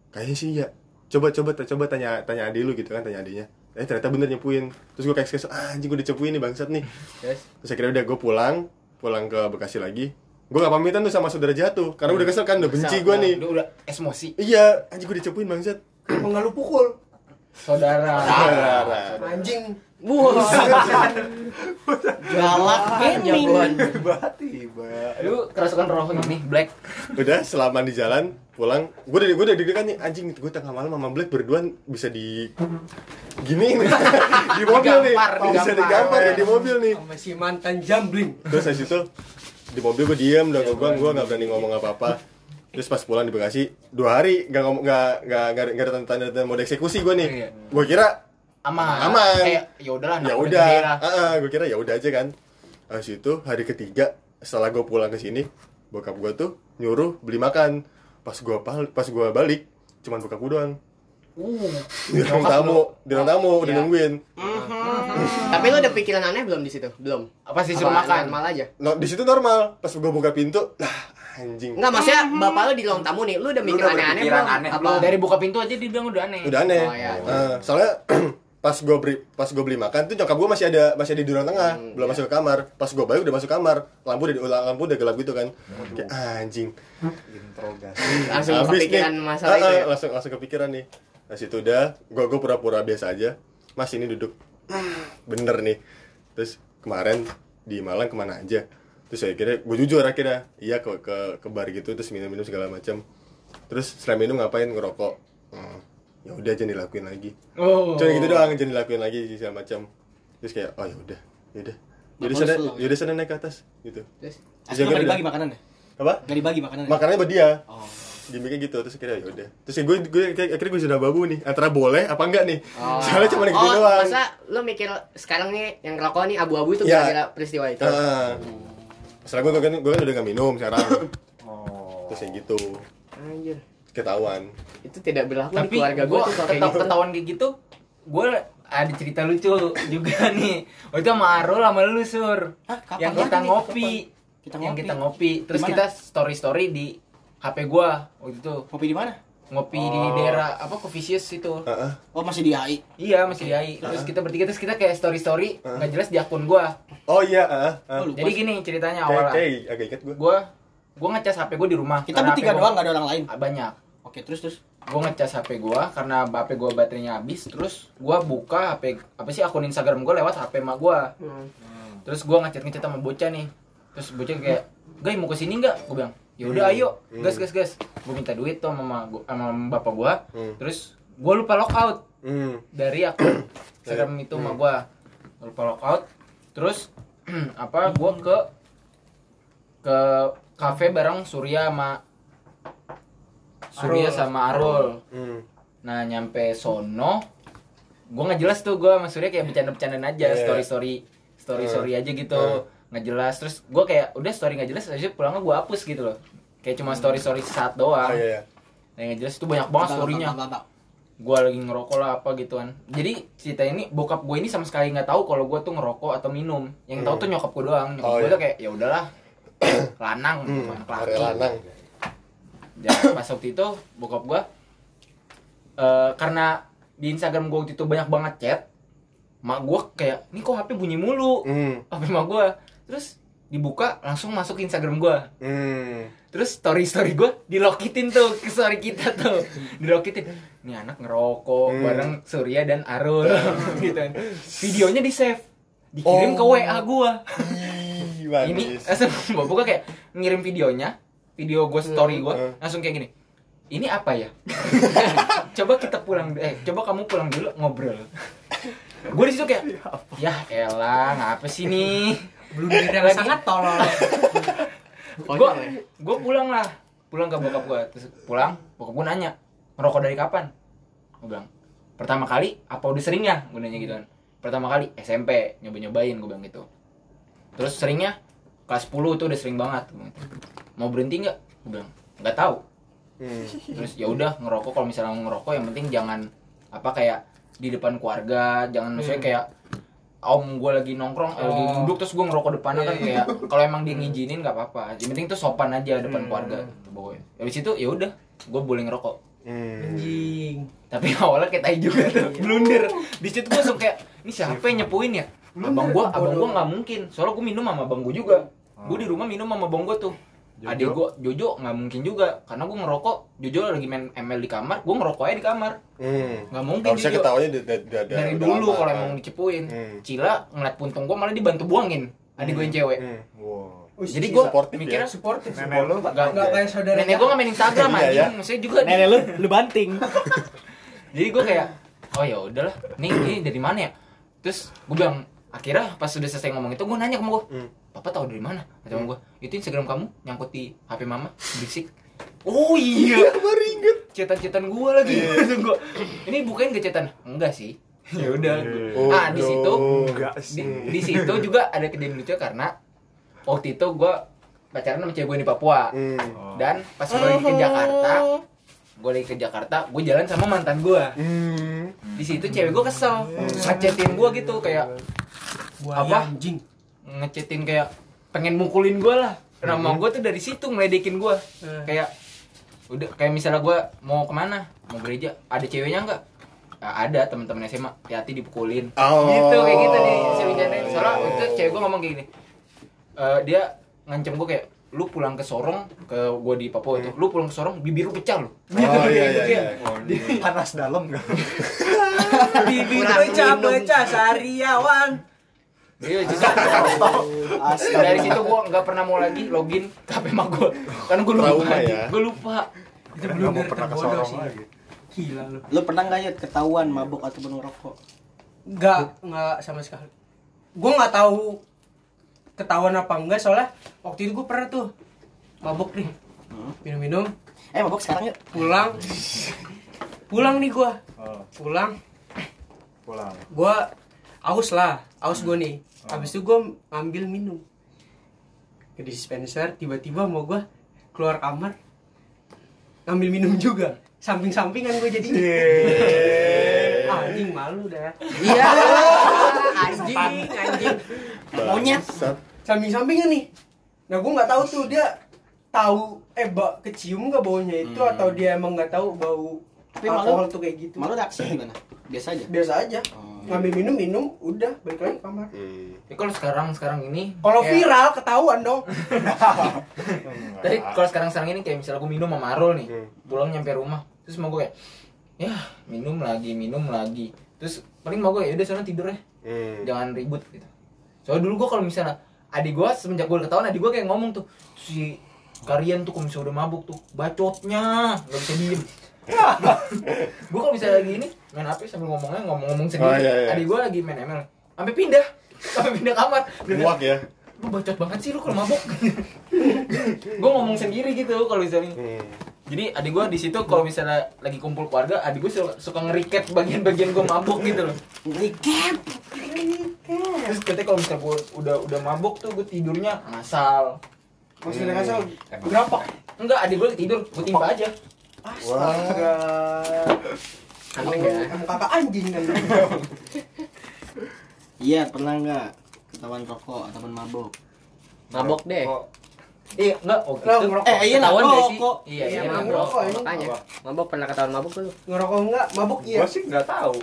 [SPEAKER 5] kayaknya sih ya coba coba ta- coba tanya tanya adik lu gitu kan tanya adiknya eh ternyata bener nyapuin terus gue kayak kesel ah, anjing gue dicepuin nih bangsat nih
[SPEAKER 9] Terus
[SPEAKER 5] terus akhirnya udah gue pulang pulang ke Bekasi lagi Gue gak pamitan tuh sama saudara jatuh Karena udah kesel kan, udah benci gue nih
[SPEAKER 9] Iya. Udah, udah emosi.
[SPEAKER 5] Iya, anjing gue dicepuin bangsat
[SPEAKER 2] Kalau nggak lu pukul,
[SPEAKER 9] Saudara.
[SPEAKER 5] Saudara
[SPEAKER 2] anjing.
[SPEAKER 1] Galak gaming.
[SPEAKER 9] Lu kerasukan rokok nih, Black.
[SPEAKER 5] Udah, selama di jalan, pulang Gue udah, gue udah deg-degan nih, anjing gue tengah malam sama Black berduaan bisa di... Gini nih, di mobil nih
[SPEAKER 9] Digampar,
[SPEAKER 5] Bisa
[SPEAKER 9] digampar.
[SPEAKER 5] digampar ya, di mobil nih
[SPEAKER 2] Sama si mantan jambling.
[SPEAKER 5] Terus dari situ, di mobil gue diem, udah gue gue gak berani ngomong apa-apa Terus pas pulang di Bekasi, dua hari gak ngomong gak gak gak, gak ada tanda-tanda mau dieksekusi gue nih.
[SPEAKER 9] Iya.
[SPEAKER 5] Gue kira
[SPEAKER 9] Aman.
[SPEAKER 5] Aman.
[SPEAKER 9] Eh, ya udahlah. anak
[SPEAKER 5] ya
[SPEAKER 9] udah
[SPEAKER 5] udah
[SPEAKER 9] gede lah.
[SPEAKER 5] gue kira ya udah aja kan habis itu hari ketiga setelah gue pulang ke sini bokap gue tuh nyuruh beli makan pas gue pal- pas gua balik cuman bokap gue doang
[SPEAKER 9] Uh.
[SPEAKER 5] di ruang tamu di ruang tamu udah
[SPEAKER 9] Iya.
[SPEAKER 5] nungguin
[SPEAKER 10] Tapi lu ada pikiran aneh belum di situ? Belum.
[SPEAKER 9] Apa sih suruh makan?
[SPEAKER 10] Normal aja.
[SPEAKER 5] no, di situ normal pas gue buka pintu lah anjing
[SPEAKER 10] Enggak, maksudnya
[SPEAKER 1] Mhm.
[SPEAKER 10] bapak lu di ruang tamu nih, lu udah mikir
[SPEAKER 7] udah
[SPEAKER 10] aneh-aneh
[SPEAKER 7] berpikiran
[SPEAKER 10] belum?
[SPEAKER 7] aneh
[SPEAKER 10] Apa?
[SPEAKER 7] belum?
[SPEAKER 9] Dari buka pintu aja dibilang udah aneh.
[SPEAKER 5] udah aneh
[SPEAKER 10] Oh,
[SPEAKER 1] ya.
[SPEAKER 10] iya.
[SPEAKER 5] Eh, soalnya pas gue beli pas gue beli makan tuh nyokap gue masih ada masih ada di ruang tengah
[SPEAKER 9] Hmm,
[SPEAKER 5] belum
[SPEAKER 9] iya.
[SPEAKER 5] masuk ke kamar pas gue balik udah masuk kamar lampu udah lampu udah gelap gitu kan kayak anjing
[SPEAKER 10] Langsung
[SPEAKER 5] Habis
[SPEAKER 10] kepikiran
[SPEAKER 5] nih.
[SPEAKER 10] masalah
[SPEAKER 5] Ah,
[SPEAKER 10] itu
[SPEAKER 5] ah,
[SPEAKER 10] ya?
[SPEAKER 5] langsung langsung kepikiran nih nah situ udah gua gua pura-pura biasa aja mas ini duduk bener nih terus kemarin di Malang kemana aja terus ya akhirnya gue jujur akhirnya iya ke ke ke bar gitu terus minum-minum segala macam terus setelah minum ngapain ngerokok Hmm, ya udah jangan dilakuin lagi
[SPEAKER 9] Oh.
[SPEAKER 5] cuma gitu doang jangan dilakuin lagi segala macam terus kayak oh ya udah ya udah jadi
[SPEAKER 1] Bapak
[SPEAKER 5] sana
[SPEAKER 1] lu slow.
[SPEAKER 5] ya udah sana naik ke atas gitu
[SPEAKER 10] Terus?
[SPEAKER 5] Terus akhirnya
[SPEAKER 1] Asli
[SPEAKER 5] udah.
[SPEAKER 1] dibagi makanannya.
[SPEAKER 5] apa
[SPEAKER 1] Enggak dibagi makanannya.
[SPEAKER 5] makanannya buat dia
[SPEAKER 1] Oh.
[SPEAKER 5] gimmicknya gitu terus akhirnya ya udah terus gue gue akhirnya gue sudah babu nih antara boleh apa enggak nih soalnya cuma gitu
[SPEAKER 10] Oh,
[SPEAKER 5] doang
[SPEAKER 10] masa lu mikir sekarang nih yang rokok nih abu-abu itu
[SPEAKER 5] Ya.
[SPEAKER 10] gara-gara peristiwa itu?
[SPEAKER 5] Heeh. soalnya gue gue kan gue kan udah gak minum sekarang terus yang gitu
[SPEAKER 10] Anjir,
[SPEAKER 5] ketahuan
[SPEAKER 10] itu tidak berlaku di
[SPEAKER 9] Tapi
[SPEAKER 10] keluarga
[SPEAKER 9] gua
[SPEAKER 10] gua tuh kalau kayak
[SPEAKER 9] ketau-
[SPEAKER 10] gitu.
[SPEAKER 9] ketahuan kayak gitu, gue ada cerita lucu juga nih. Waktu itu sama Arul sama lu sur.
[SPEAKER 1] Hah, kapan
[SPEAKER 9] yang kita
[SPEAKER 1] lagi?
[SPEAKER 9] ngopi.
[SPEAKER 1] Kita
[SPEAKER 9] Yang
[SPEAKER 1] ngopi.
[SPEAKER 9] kita ngopi. Terus
[SPEAKER 1] Di mana?
[SPEAKER 9] kita story-story di HP gua waktu itu.
[SPEAKER 1] Kopi di mana?
[SPEAKER 9] Ngopi di daerah apa Covicius itu.
[SPEAKER 5] Heeh.
[SPEAKER 1] Oh, masih di AI.
[SPEAKER 9] Iya, masih di AI. Terus kita bertiga terus kita kayak story-story nggak jelas di akun gua.
[SPEAKER 5] oh iya heeh. heeh.
[SPEAKER 1] Lu lupa
[SPEAKER 9] Jadi
[SPEAKER 1] sih.
[SPEAKER 9] gini ceritanya
[SPEAKER 5] kayak
[SPEAKER 9] awalnya.
[SPEAKER 5] kayak agak inget gue
[SPEAKER 9] Gue gue ngecas HP gue di rumah.
[SPEAKER 1] kita
[SPEAKER 9] karena
[SPEAKER 1] bertiga
[SPEAKER 9] HP gua-
[SPEAKER 1] doang, enggak ada orang lain.
[SPEAKER 9] Banyak.
[SPEAKER 1] Oke, terus terus.
[SPEAKER 9] gue ngecas HP gue karena HP gue baterainya habis terus gue buka HP apa sih akun Instagram gue lewat HP emak gue terus gue ngechat ngechat sama bocah nih terus bocah kayak guys mau kesini nggak gue bilang ya udah ayo gas gas gas gue minta duit tuh sama mama gua, sama bapak gue
[SPEAKER 5] Hmm.
[SPEAKER 9] terus gue lupa lockout
[SPEAKER 5] hmm.
[SPEAKER 9] dari akun Instagram itu sama gue lupa lockout terus apa gue ke ke kafe bareng Surya sama Surya sama Arul
[SPEAKER 5] hmm.
[SPEAKER 9] Nah nyampe sono, gue nggak jelas tuh gue sama Surya kayak bercanda-bercandaan aja,
[SPEAKER 5] Iya. Hmm.
[SPEAKER 9] story story, story story aja gitu, nggak jelas. Terus gue kayak udah story nggak jelas, aja pulangnya gue hapus gitu loh. Kayak cuma story story saat doang.
[SPEAKER 5] oh Hmm. iya iya.
[SPEAKER 9] Nah, nggak jelas itu banyak banget
[SPEAKER 1] Bapak,
[SPEAKER 9] storynya.
[SPEAKER 1] bapak, bapak.
[SPEAKER 9] Gue lagi ngerokok lah apa gituan. Jadi cerita ini bokap gue ini sama sekali nggak tahu kalau gue tuh ngerokok atau minum. Yang tahu tuh nyokap gue doang. Nyokap
[SPEAKER 5] Oh,
[SPEAKER 9] gue
[SPEAKER 5] iya.
[SPEAKER 9] tuh kayak ya udahlah, lanang, gitu, anak laki.
[SPEAKER 5] Arya Hmm. lanang
[SPEAKER 9] Ya, pas waktu itu bokap gua eh, karena di Instagram gua waktu itu banyak banget chat, mak gua kayak, "Nih kok HP bunyi mulu?"
[SPEAKER 5] hmm.
[SPEAKER 9] HP mak gua. Terus dibuka langsung masuk ke Instagram gua.
[SPEAKER 5] hmm.
[SPEAKER 9] Terus story story gua dilokitin tuh ke story kita tuh. Dilokitin. Nih anak ngerokok
[SPEAKER 5] Hmm.
[SPEAKER 9] bareng Surya dan Arul gitu. kan. Videonya di-save. Dikirim ke
[SPEAKER 5] Oh.
[SPEAKER 9] WA gua
[SPEAKER 5] Ih,
[SPEAKER 9] ini eh,
[SPEAKER 5] manis
[SPEAKER 9] langsung bapak gue kayak ngirim videonya video gue story gue
[SPEAKER 5] Hmm.
[SPEAKER 9] langsung kayak gini ini apa ya coba kita pulang eh coba kamu pulang dulu ngobrol gue di situ kayak ya elah ngapa sih nih blunder yang sangat tolol gue gue pulang lah pulang ke bokap gue terus pulang bokap gue nanya ngerokok dari kapan gue bilang pertama kali apa udah sering ya gue nanya gitu kan pertama kali SMP nyoba nyobain gue bilang gitu terus seringnya kelas 10 itu udah sering banget gua gitu. mau berhenti nggak gue bilang nggak tahu
[SPEAKER 8] Hmm.
[SPEAKER 9] terus ya udah ngerokok kalau misalnya mau ngerokok yang penting jangan apa kayak di depan keluarga jangan maksudnya kayak om gue lagi nongkrong eh, lagi duduk terus gue ngerokok depannya kan kayak kalau emang dia ngizinin nggak apa-apa yang penting tuh sopan aja depan keluarga gitu pokoknya habis itu ya udah gue boleh ngerokok
[SPEAKER 5] hmm.
[SPEAKER 2] Anjing.
[SPEAKER 9] tapi awalnya kayak tai juga tuh blunder di situ gue langsung kayak ini siapa yang nyepuin ya
[SPEAKER 5] Oh.
[SPEAKER 9] abang gua abang gua nggak mungkin soalnya gue minum sama abang gua juga gue di rumah minum sama abang gua tuh Adik gue Jojo nggak mungkin juga karena gue ngerokok Jojo lagi main ML di kamar gue ngerokoknya di kamar
[SPEAKER 5] Hmm.
[SPEAKER 9] nggak mungkin
[SPEAKER 5] Harusnya
[SPEAKER 9] Jojo.
[SPEAKER 5] ketawanya di- di- di- di-
[SPEAKER 9] dari
[SPEAKER 5] udah
[SPEAKER 9] dulu
[SPEAKER 5] lama. kan.
[SPEAKER 9] kalau emang dicepuin
[SPEAKER 5] Hmm.
[SPEAKER 9] Cila ngeliat puntung gue malah dibantu buangin adik gue yang cewek
[SPEAKER 5] Hmm.
[SPEAKER 4] Wow.
[SPEAKER 9] jadi gue
[SPEAKER 5] Supportive
[SPEAKER 9] mikirnya
[SPEAKER 2] Supportif.
[SPEAKER 4] Nenek lu
[SPEAKER 2] Gak, gak kayak saudara.
[SPEAKER 9] nenek gue nggak main Instagram
[SPEAKER 5] Iya,
[SPEAKER 9] aja
[SPEAKER 5] iya.
[SPEAKER 9] maksudnya juga
[SPEAKER 3] Nenek lu, lu banting.
[SPEAKER 9] jadi gue kayak oh ya udahlah nih ini dari mana ya terus gue bilang akhirnya pas sudah selesai ngomong itu gue nanya ke gue papa tahu dari mana kata gue itu instagram kamu nyangkut di hp mama berisik oh iya baru inget cetan-cetan gue lagi gue ini bukain gak cetan enggak sih ya udah
[SPEAKER 5] Oh,
[SPEAKER 9] ah di situ
[SPEAKER 5] no.
[SPEAKER 4] enggak
[SPEAKER 9] di,
[SPEAKER 4] sih.
[SPEAKER 9] di situ juga ada kejadian lucu karena waktu itu gue pacaran sama cewek gue di Papua
[SPEAKER 5] Hmm.
[SPEAKER 4] Oh.
[SPEAKER 9] dan pas gue lagi ke Jakarta gue lagi ke Jakarta gue jalan sama mantan gue
[SPEAKER 5] Hmm.
[SPEAKER 9] di situ cewek gue kesel ngechatin gue gitu kayak apa
[SPEAKER 2] anjing.
[SPEAKER 9] ngechatin kayak pengen mukulin gue lah nama gue tuh dari situ ngeledekin gue kayak udah kayak misalnya gue mau kemana mau gereja ada ceweknya nggak "Ah, ada teman-teman SMA hati-hati dipukulin
[SPEAKER 5] Oh.
[SPEAKER 9] gitu kayak gitu nih si bercandain. soalnya itu cewek gue ngomong kayak gini Eh, dia ngancam gue kayak lu pulang ke Sorong ke gue di Papua
[SPEAKER 5] Hmm.
[SPEAKER 9] itu lu pulang ke Sorong bibir lu pecah lu
[SPEAKER 5] Oh iya
[SPEAKER 9] gitu.
[SPEAKER 5] iya iya.
[SPEAKER 4] panas dalam enggak?
[SPEAKER 2] Bibir pecah-pecah sariawan.
[SPEAKER 9] Iya, jadi dari situ gua nggak pernah mau lagi login ke HP mak gua. Karena gua lupa.
[SPEAKER 5] Trauma ya.
[SPEAKER 9] Gua lupa.
[SPEAKER 2] Itu
[SPEAKER 4] Enggak mau pernah ke
[SPEAKER 2] terbodoh
[SPEAKER 4] Sorong lagi.
[SPEAKER 2] Gila lu.
[SPEAKER 1] Lu pernah nggak ya ketahuan mabuk ataupun ngerokok?
[SPEAKER 2] Enggak, enggak sama sekali. Gue nggak tahu ketahuan apa enggak soalnya waktu itu gue pernah tuh mabuk nih. Minum-minum,
[SPEAKER 1] Eh mabuk sekarang yuk.
[SPEAKER 2] pulang. Pulang nih gua.
[SPEAKER 4] Oh,
[SPEAKER 2] Pulang,
[SPEAKER 4] pulang.
[SPEAKER 2] gua aus lah, aus gue nih. Habis itu gua ngambil minum. Ke dispenser, tiba-tiba mau gua keluar kamar ngambil minum juga. Samping-sampingan gue jadi. Anjing malu dah.
[SPEAKER 10] Iya. Anjing, anjing.
[SPEAKER 1] Monyet.
[SPEAKER 5] Bangsat.
[SPEAKER 2] samping-sampingnya nih. Nah gue nggak tahu tuh dia tahu eh ba, kecium nggak baunya itu
[SPEAKER 9] Hmm.
[SPEAKER 2] atau dia emang nggak tahu bau
[SPEAKER 1] Tapi
[SPEAKER 2] alkohol
[SPEAKER 1] malu-
[SPEAKER 2] tuh kayak gitu.
[SPEAKER 1] Malu reaksi gimana? Biasa aja.
[SPEAKER 2] Biasa aja. Ngambil minum minum udah balik lagi ke kamar.
[SPEAKER 5] Hmm.
[SPEAKER 9] Ya, kalau sekarang sekarang ini
[SPEAKER 2] Kalau
[SPEAKER 9] kayak-
[SPEAKER 2] viral ketahuan dong.
[SPEAKER 9] Tapi kalau sekarang sekarang ini kayak misalnya gua minum sama Arul nih.
[SPEAKER 5] Hmm.
[SPEAKER 9] Pulang nyampe rumah, terus mau gua kayak ya minum lagi, minum lagi. Terus paling mau gua ya udah sana tidur ya.
[SPEAKER 5] Hmm.
[SPEAKER 9] Jangan ribut gitu. Soalnya dulu gua kalau misalnya adik gua semenjak gua ketahuan adik gua kayak ngomong tuh si Karian tuh kalau misalnya udah mabuk tuh bacotnya nggak bisa diem. gue kalau misalnya lagi ini main HP sambil ngomongnya ngomong-ngomong sendiri.
[SPEAKER 5] Oh, iya, iya.
[SPEAKER 9] Adik gue lagi main ML, sampai pindah, sampai pindah kamar. Dia bilang,
[SPEAKER 5] Muak ya.
[SPEAKER 9] lu bacot banget sih lu kalau mabok. gue ngomong sendiri gitu kalau misalnya.
[SPEAKER 5] Hmm.
[SPEAKER 9] Jadi adik gue di situ kalau misalnya lagi kumpul keluarga, adik gue suka, suka ngeriket bagian-bagian gue mabuk gitu loh.
[SPEAKER 1] Recap.
[SPEAKER 9] Terus katanya kalau misalnya gue udah udah mabuk tuh gue tidurnya ngasal.
[SPEAKER 2] Maksudnya asal
[SPEAKER 7] Emang.
[SPEAKER 2] berapa?
[SPEAKER 9] Enggak, adik gue lagi tidur, gue timpa aja.
[SPEAKER 2] Astaga. Emang-
[SPEAKER 9] Aneh ya.
[SPEAKER 2] Emang kakak anjing kan.
[SPEAKER 1] Iya pernah nggak ketahuan rokok ataupun mabuk?
[SPEAKER 10] Mabok deh.
[SPEAKER 9] Iya, enggak. Oh,
[SPEAKER 2] Lah, ngerokok.
[SPEAKER 1] Eh, iya,
[SPEAKER 9] ketahuan nggak sih?
[SPEAKER 1] ngerokok.
[SPEAKER 9] Iya,
[SPEAKER 2] Iya,
[SPEAKER 9] iya,
[SPEAKER 2] mabok.
[SPEAKER 9] ngerokok.
[SPEAKER 2] Emang
[SPEAKER 10] Makanya. Mabok pernah ketahuan mabuk lu?
[SPEAKER 2] Ngerokok enggak? Mabuk iya.
[SPEAKER 4] Gue sih nggak tahu.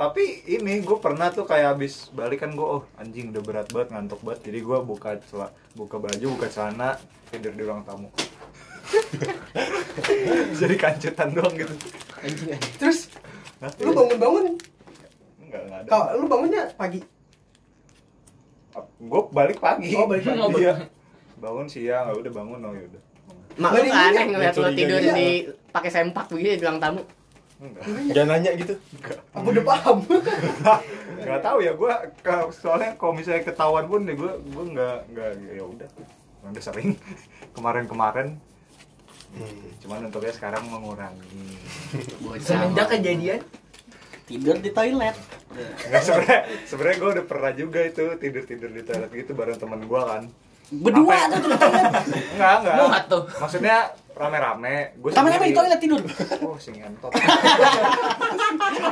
[SPEAKER 4] Tapi ini gue pernah tuh kayak abis balik kan gue oh anjing udah berat banget ngantuk banget jadi gue buka cela- buka baju buka celana tidur di ruang tamu. jadi kancutan doang gitu.
[SPEAKER 10] Anjing. anjing.
[SPEAKER 2] Terus
[SPEAKER 4] Nah,
[SPEAKER 2] lu bangun-bangun
[SPEAKER 4] Enggak, enggak ada.
[SPEAKER 2] kalau lu bangunnya pagi.
[SPEAKER 4] Gue balik pagi.
[SPEAKER 2] Oh, balik pagi.
[SPEAKER 4] Iya. Bangun siang, udah bangun oh ya udah.
[SPEAKER 10] Mak lu
[SPEAKER 2] Balik
[SPEAKER 10] nggak aneh
[SPEAKER 2] juga.
[SPEAKER 10] ngeliat lu
[SPEAKER 5] Curiga
[SPEAKER 10] tidur
[SPEAKER 5] juga.
[SPEAKER 10] di pakai sempak begini di ruang tamu.
[SPEAKER 4] Enggak.
[SPEAKER 5] Jangan nanya gitu.
[SPEAKER 2] Aku udah paham.
[SPEAKER 4] Enggak tahu ya gue soalnya kalau misalnya ketahuan pun ya gue gue enggak enggak ya udah. Udah sering kemarin-kemarin.
[SPEAKER 5] Hmm.
[SPEAKER 4] Cuman untuknya sekarang mengurangi.
[SPEAKER 9] Semenjak kejadian,
[SPEAKER 1] Tidur di toilet.
[SPEAKER 4] Enggak sebenarnya sebenarnya gue udah pernah juga itu tidur-tidur di toilet gitu bareng teman gue kan.
[SPEAKER 1] Berdua
[SPEAKER 4] Sampai-
[SPEAKER 1] tuh di toilet.
[SPEAKER 4] Enggak, enggak.
[SPEAKER 9] Muat tuh.
[SPEAKER 4] Maksudnya rame-rame. Gue
[SPEAKER 1] Rame-rame di toilet tidur.
[SPEAKER 4] Oh, sing entot.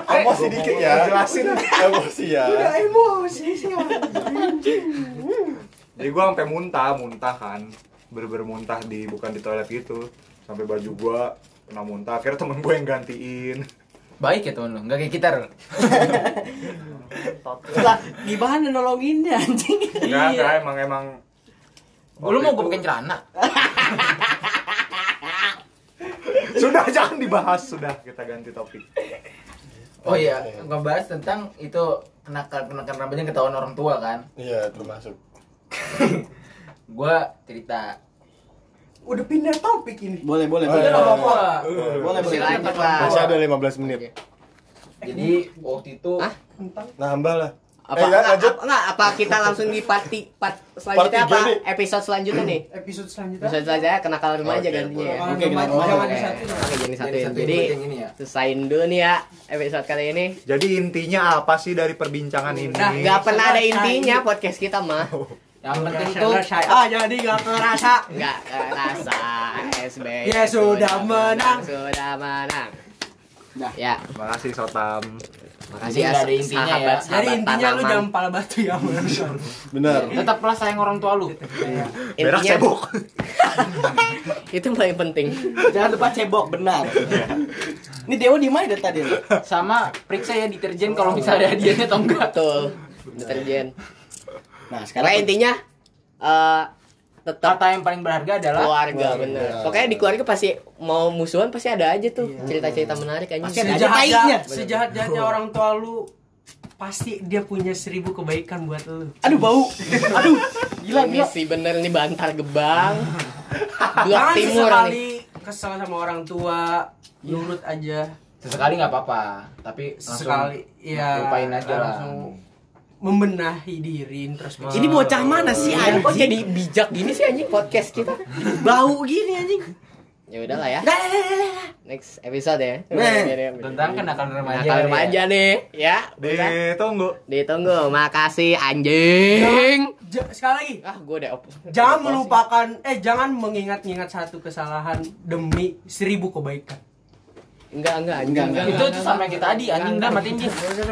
[SPEAKER 5] Emosi dikit ya.
[SPEAKER 4] Jelasin.
[SPEAKER 5] Emosi ya.
[SPEAKER 9] Iya,
[SPEAKER 2] Emosi sih.
[SPEAKER 4] Jadi gua sampai muntah, muntah kan. Bener-bener muntah di bukan di toilet gitu. Sampai baju gua kena muntah. Akhirnya temen gue yang gantiin.
[SPEAKER 9] baik ya temen lu, nggak kayak kita Rul.
[SPEAKER 1] Lah gimana nolonginnya anjing?
[SPEAKER 4] Kan, Enggak, enggak emang emang
[SPEAKER 9] Lu mau gue pakein celana?
[SPEAKER 4] Sudah jangan dibahas sudah kita ganti topik.
[SPEAKER 9] Oh iya, ngebahas tentang itu kenakan kenakan rambutnya ketahuan orang tua kan.
[SPEAKER 5] Iya, termasuk.
[SPEAKER 9] Gua cerita.
[SPEAKER 2] Udah pindah topik ini.
[SPEAKER 1] Boleh, boleh,
[SPEAKER 5] Oh,
[SPEAKER 1] boleh.
[SPEAKER 5] iya.
[SPEAKER 9] apa-apa.
[SPEAKER 1] Boleh, boleh.
[SPEAKER 8] Silakan lah.
[SPEAKER 5] Masih ada 15 menit.
[SPEAKER 9] Jadi waktu itu
[SPEAKER 8] Hah?
[SPEAKER 5] Nambah lah. Eh, ya,
[SPEAKER 8] Apa, enggak,
[SPEAKER 5] lanjut.
[SPEAKER 8] apa, enggak, apa kita langsung di parti part
[SPEAKER 5] Part
[SPEAKER 8] selanjutnya
[SPEAKER 5] tiga
[SPEAKER 8] apa?
[SPEAKER 5] nih.
[SPEAKER 8] Episode selanjutnya nih.
[SPEAKER 2] Episode selanjutnya.
[SPEAKER 8] Episode selanjutnya kenakalan remaja
[SPEAKER 5] Oke,
[SPEAKER 8] gantinya ya.
[SPEAKER 2] Oke,
[SPEAKER 1] Oke, kenapa?
[SPEAKER 2] jangan
[SPEAKER 9] Oke.
[SPEAKER 2] disatuin.
[SPEAKER 8] Oke, jadi
[SPEAKER 9] jadi
[SPEAKER 8] satuin.
[SPEAKER 9] satu
[SPEAKER 8] Jadi
[SPEAKER 9] yang ini ya.
[SPEAKER 8] selesain dulu nih ya episode kali ini.
[SPEAKER 4] Jadi intinya apa sih dari perbincangan ini?
[SPEAKER 8] Nah, nggak pernah ada intinya podcast kita mah.
[SPEAKER 9] Yang penting
[SPEAKER 11] Ngerasa-
[SPEAKER 9] tuh
[SPEAKER 11] ngerasa. Ah, jadi gak kerasa.
[SPEAKER 8] Nggak kerasa SB.
[SPEAKER 11] Ya, sudah menang.
[SPEAKER 8] Sudah menang.
[SPEAKER 1] Dah.
[SPEAKER 8] Ya,
[SPEAKER 4] Terima kasih Sotam.
[SPEAKER 8] makasih ya
[SPEAKER 9] Nggak ada intinya ya.
[SPEAKER 8] sahabat-sahabat
[SPEAKER 2] Jadi intinya lu
[SPEAKER 8] tanaman.
[SPEAKER 2] jangan pala batu ya, Bang.
[SPEAKER 5] Benar.
[SPEAKER 9] tetaplah sayang orang tua lu.
[SPEAKER 4] Berak
[SPEAKER 8] Intinya-
[SPEAKER 4] sibuk.
[SPEAKER 8] Itu yang paling penting.
[SPEAKER 1] Jangan lupa cebok, benar. Ini Dewa di mana dari tadi? nih?
[SPEAKER 9] Sama periksa ya deterjen kalau misalnya hadiahnya atau enggak.
[SPEAKER 8] Betul. Deterjen.
[SPEAKER 1] Nah,
[SPEAKER 8] Karena
[SPEAKER 1] sekarang
[SPEAKER 8] intinya eh tetap
[SPEAKER 9] Kata yang paling berharga
[SPEAKER 2] Oh,
[SPEAKER 9] adalah
[SPEAKER 8] keluarga bener. Pokoknya di keluarga pasti mau musuhan pasti ada aja tuh cerita-cerita menarik Iya.
[SPEAKER 1] Iya.
[SPEAKER 8] aja.
[SPEAKER 1] Pasti ada aja. taiknya.
[SPEAKER 2] sejahat jahatnya orang tua lu pasti dia punya seribu kebaikan buat lu.
[SPEAKER 1] aduh bau. Aduh, gila
[SPEAKER 8] Ini
[SPEAKER 1] gila.
[SPEAKER 8] sih Iya, bener nih Bantar Gebang. Blok
[SPEAKER 2] Jangan
[SPEAKER 8] Timur
[SPEAKER 2] sesekali
[SPEAKER 8] nih.
[SPEAKER 2] kesel sama orang tua, nurut aja.
[SPEAKER 9] sesekali nggak apa-apa, tapi langsung
[SPEAKER 2] Sekali ya
[SPEAKER 9] lupain aja lah.
[SPEAKER 2] langsung membenahi diri terus
[SPEAKER 1] Ini bocah mana sih
[SPEAKER 8] Iya, kok
[SPEAKER 1] anjing?
[SPEAKER 8] jadi bijak gini sih anjing podcast kita?
[SPEAKER 1] Bau gini anjing.
[SPEAKER 8] Ya udahlah ya. Next episode ya.
[SPEAKER 1] Nah.
[SPEAKER 9] tentang kan- kenakan remaja.
[SPEAKER 1] Iya,
[SPEAKER 8] Nah, kalau
[SPEAKER 9] ya.
[SPEAKER 8] aja nih ya. udah.
[SPEAKER 4] Ditunggu.
[SPEAKER 8] Ditunggu. Makasih
[SPEAKER 1] Iya.
[SPEAKER 8] anjing.
[SPEAKER 2] Ja- sekali lagi
[SPEAKER 8] Ah, gue udah op-
[SPEAKER 2] jangan melupakan eh jangan mengingat-ingat satu kesalahan demi seribu kebaikan.
[SPEAKER 8] Enggak, enggak, anjing.
[SPEAKER 1] Enggak,
[SPEAKER 8] enggak,
[SPEAKER 1] enggak.
[SPEAKER 8] enggak.
[SPEAKER 9] Itu sama yang kita tadi, anjing udah matiin dia.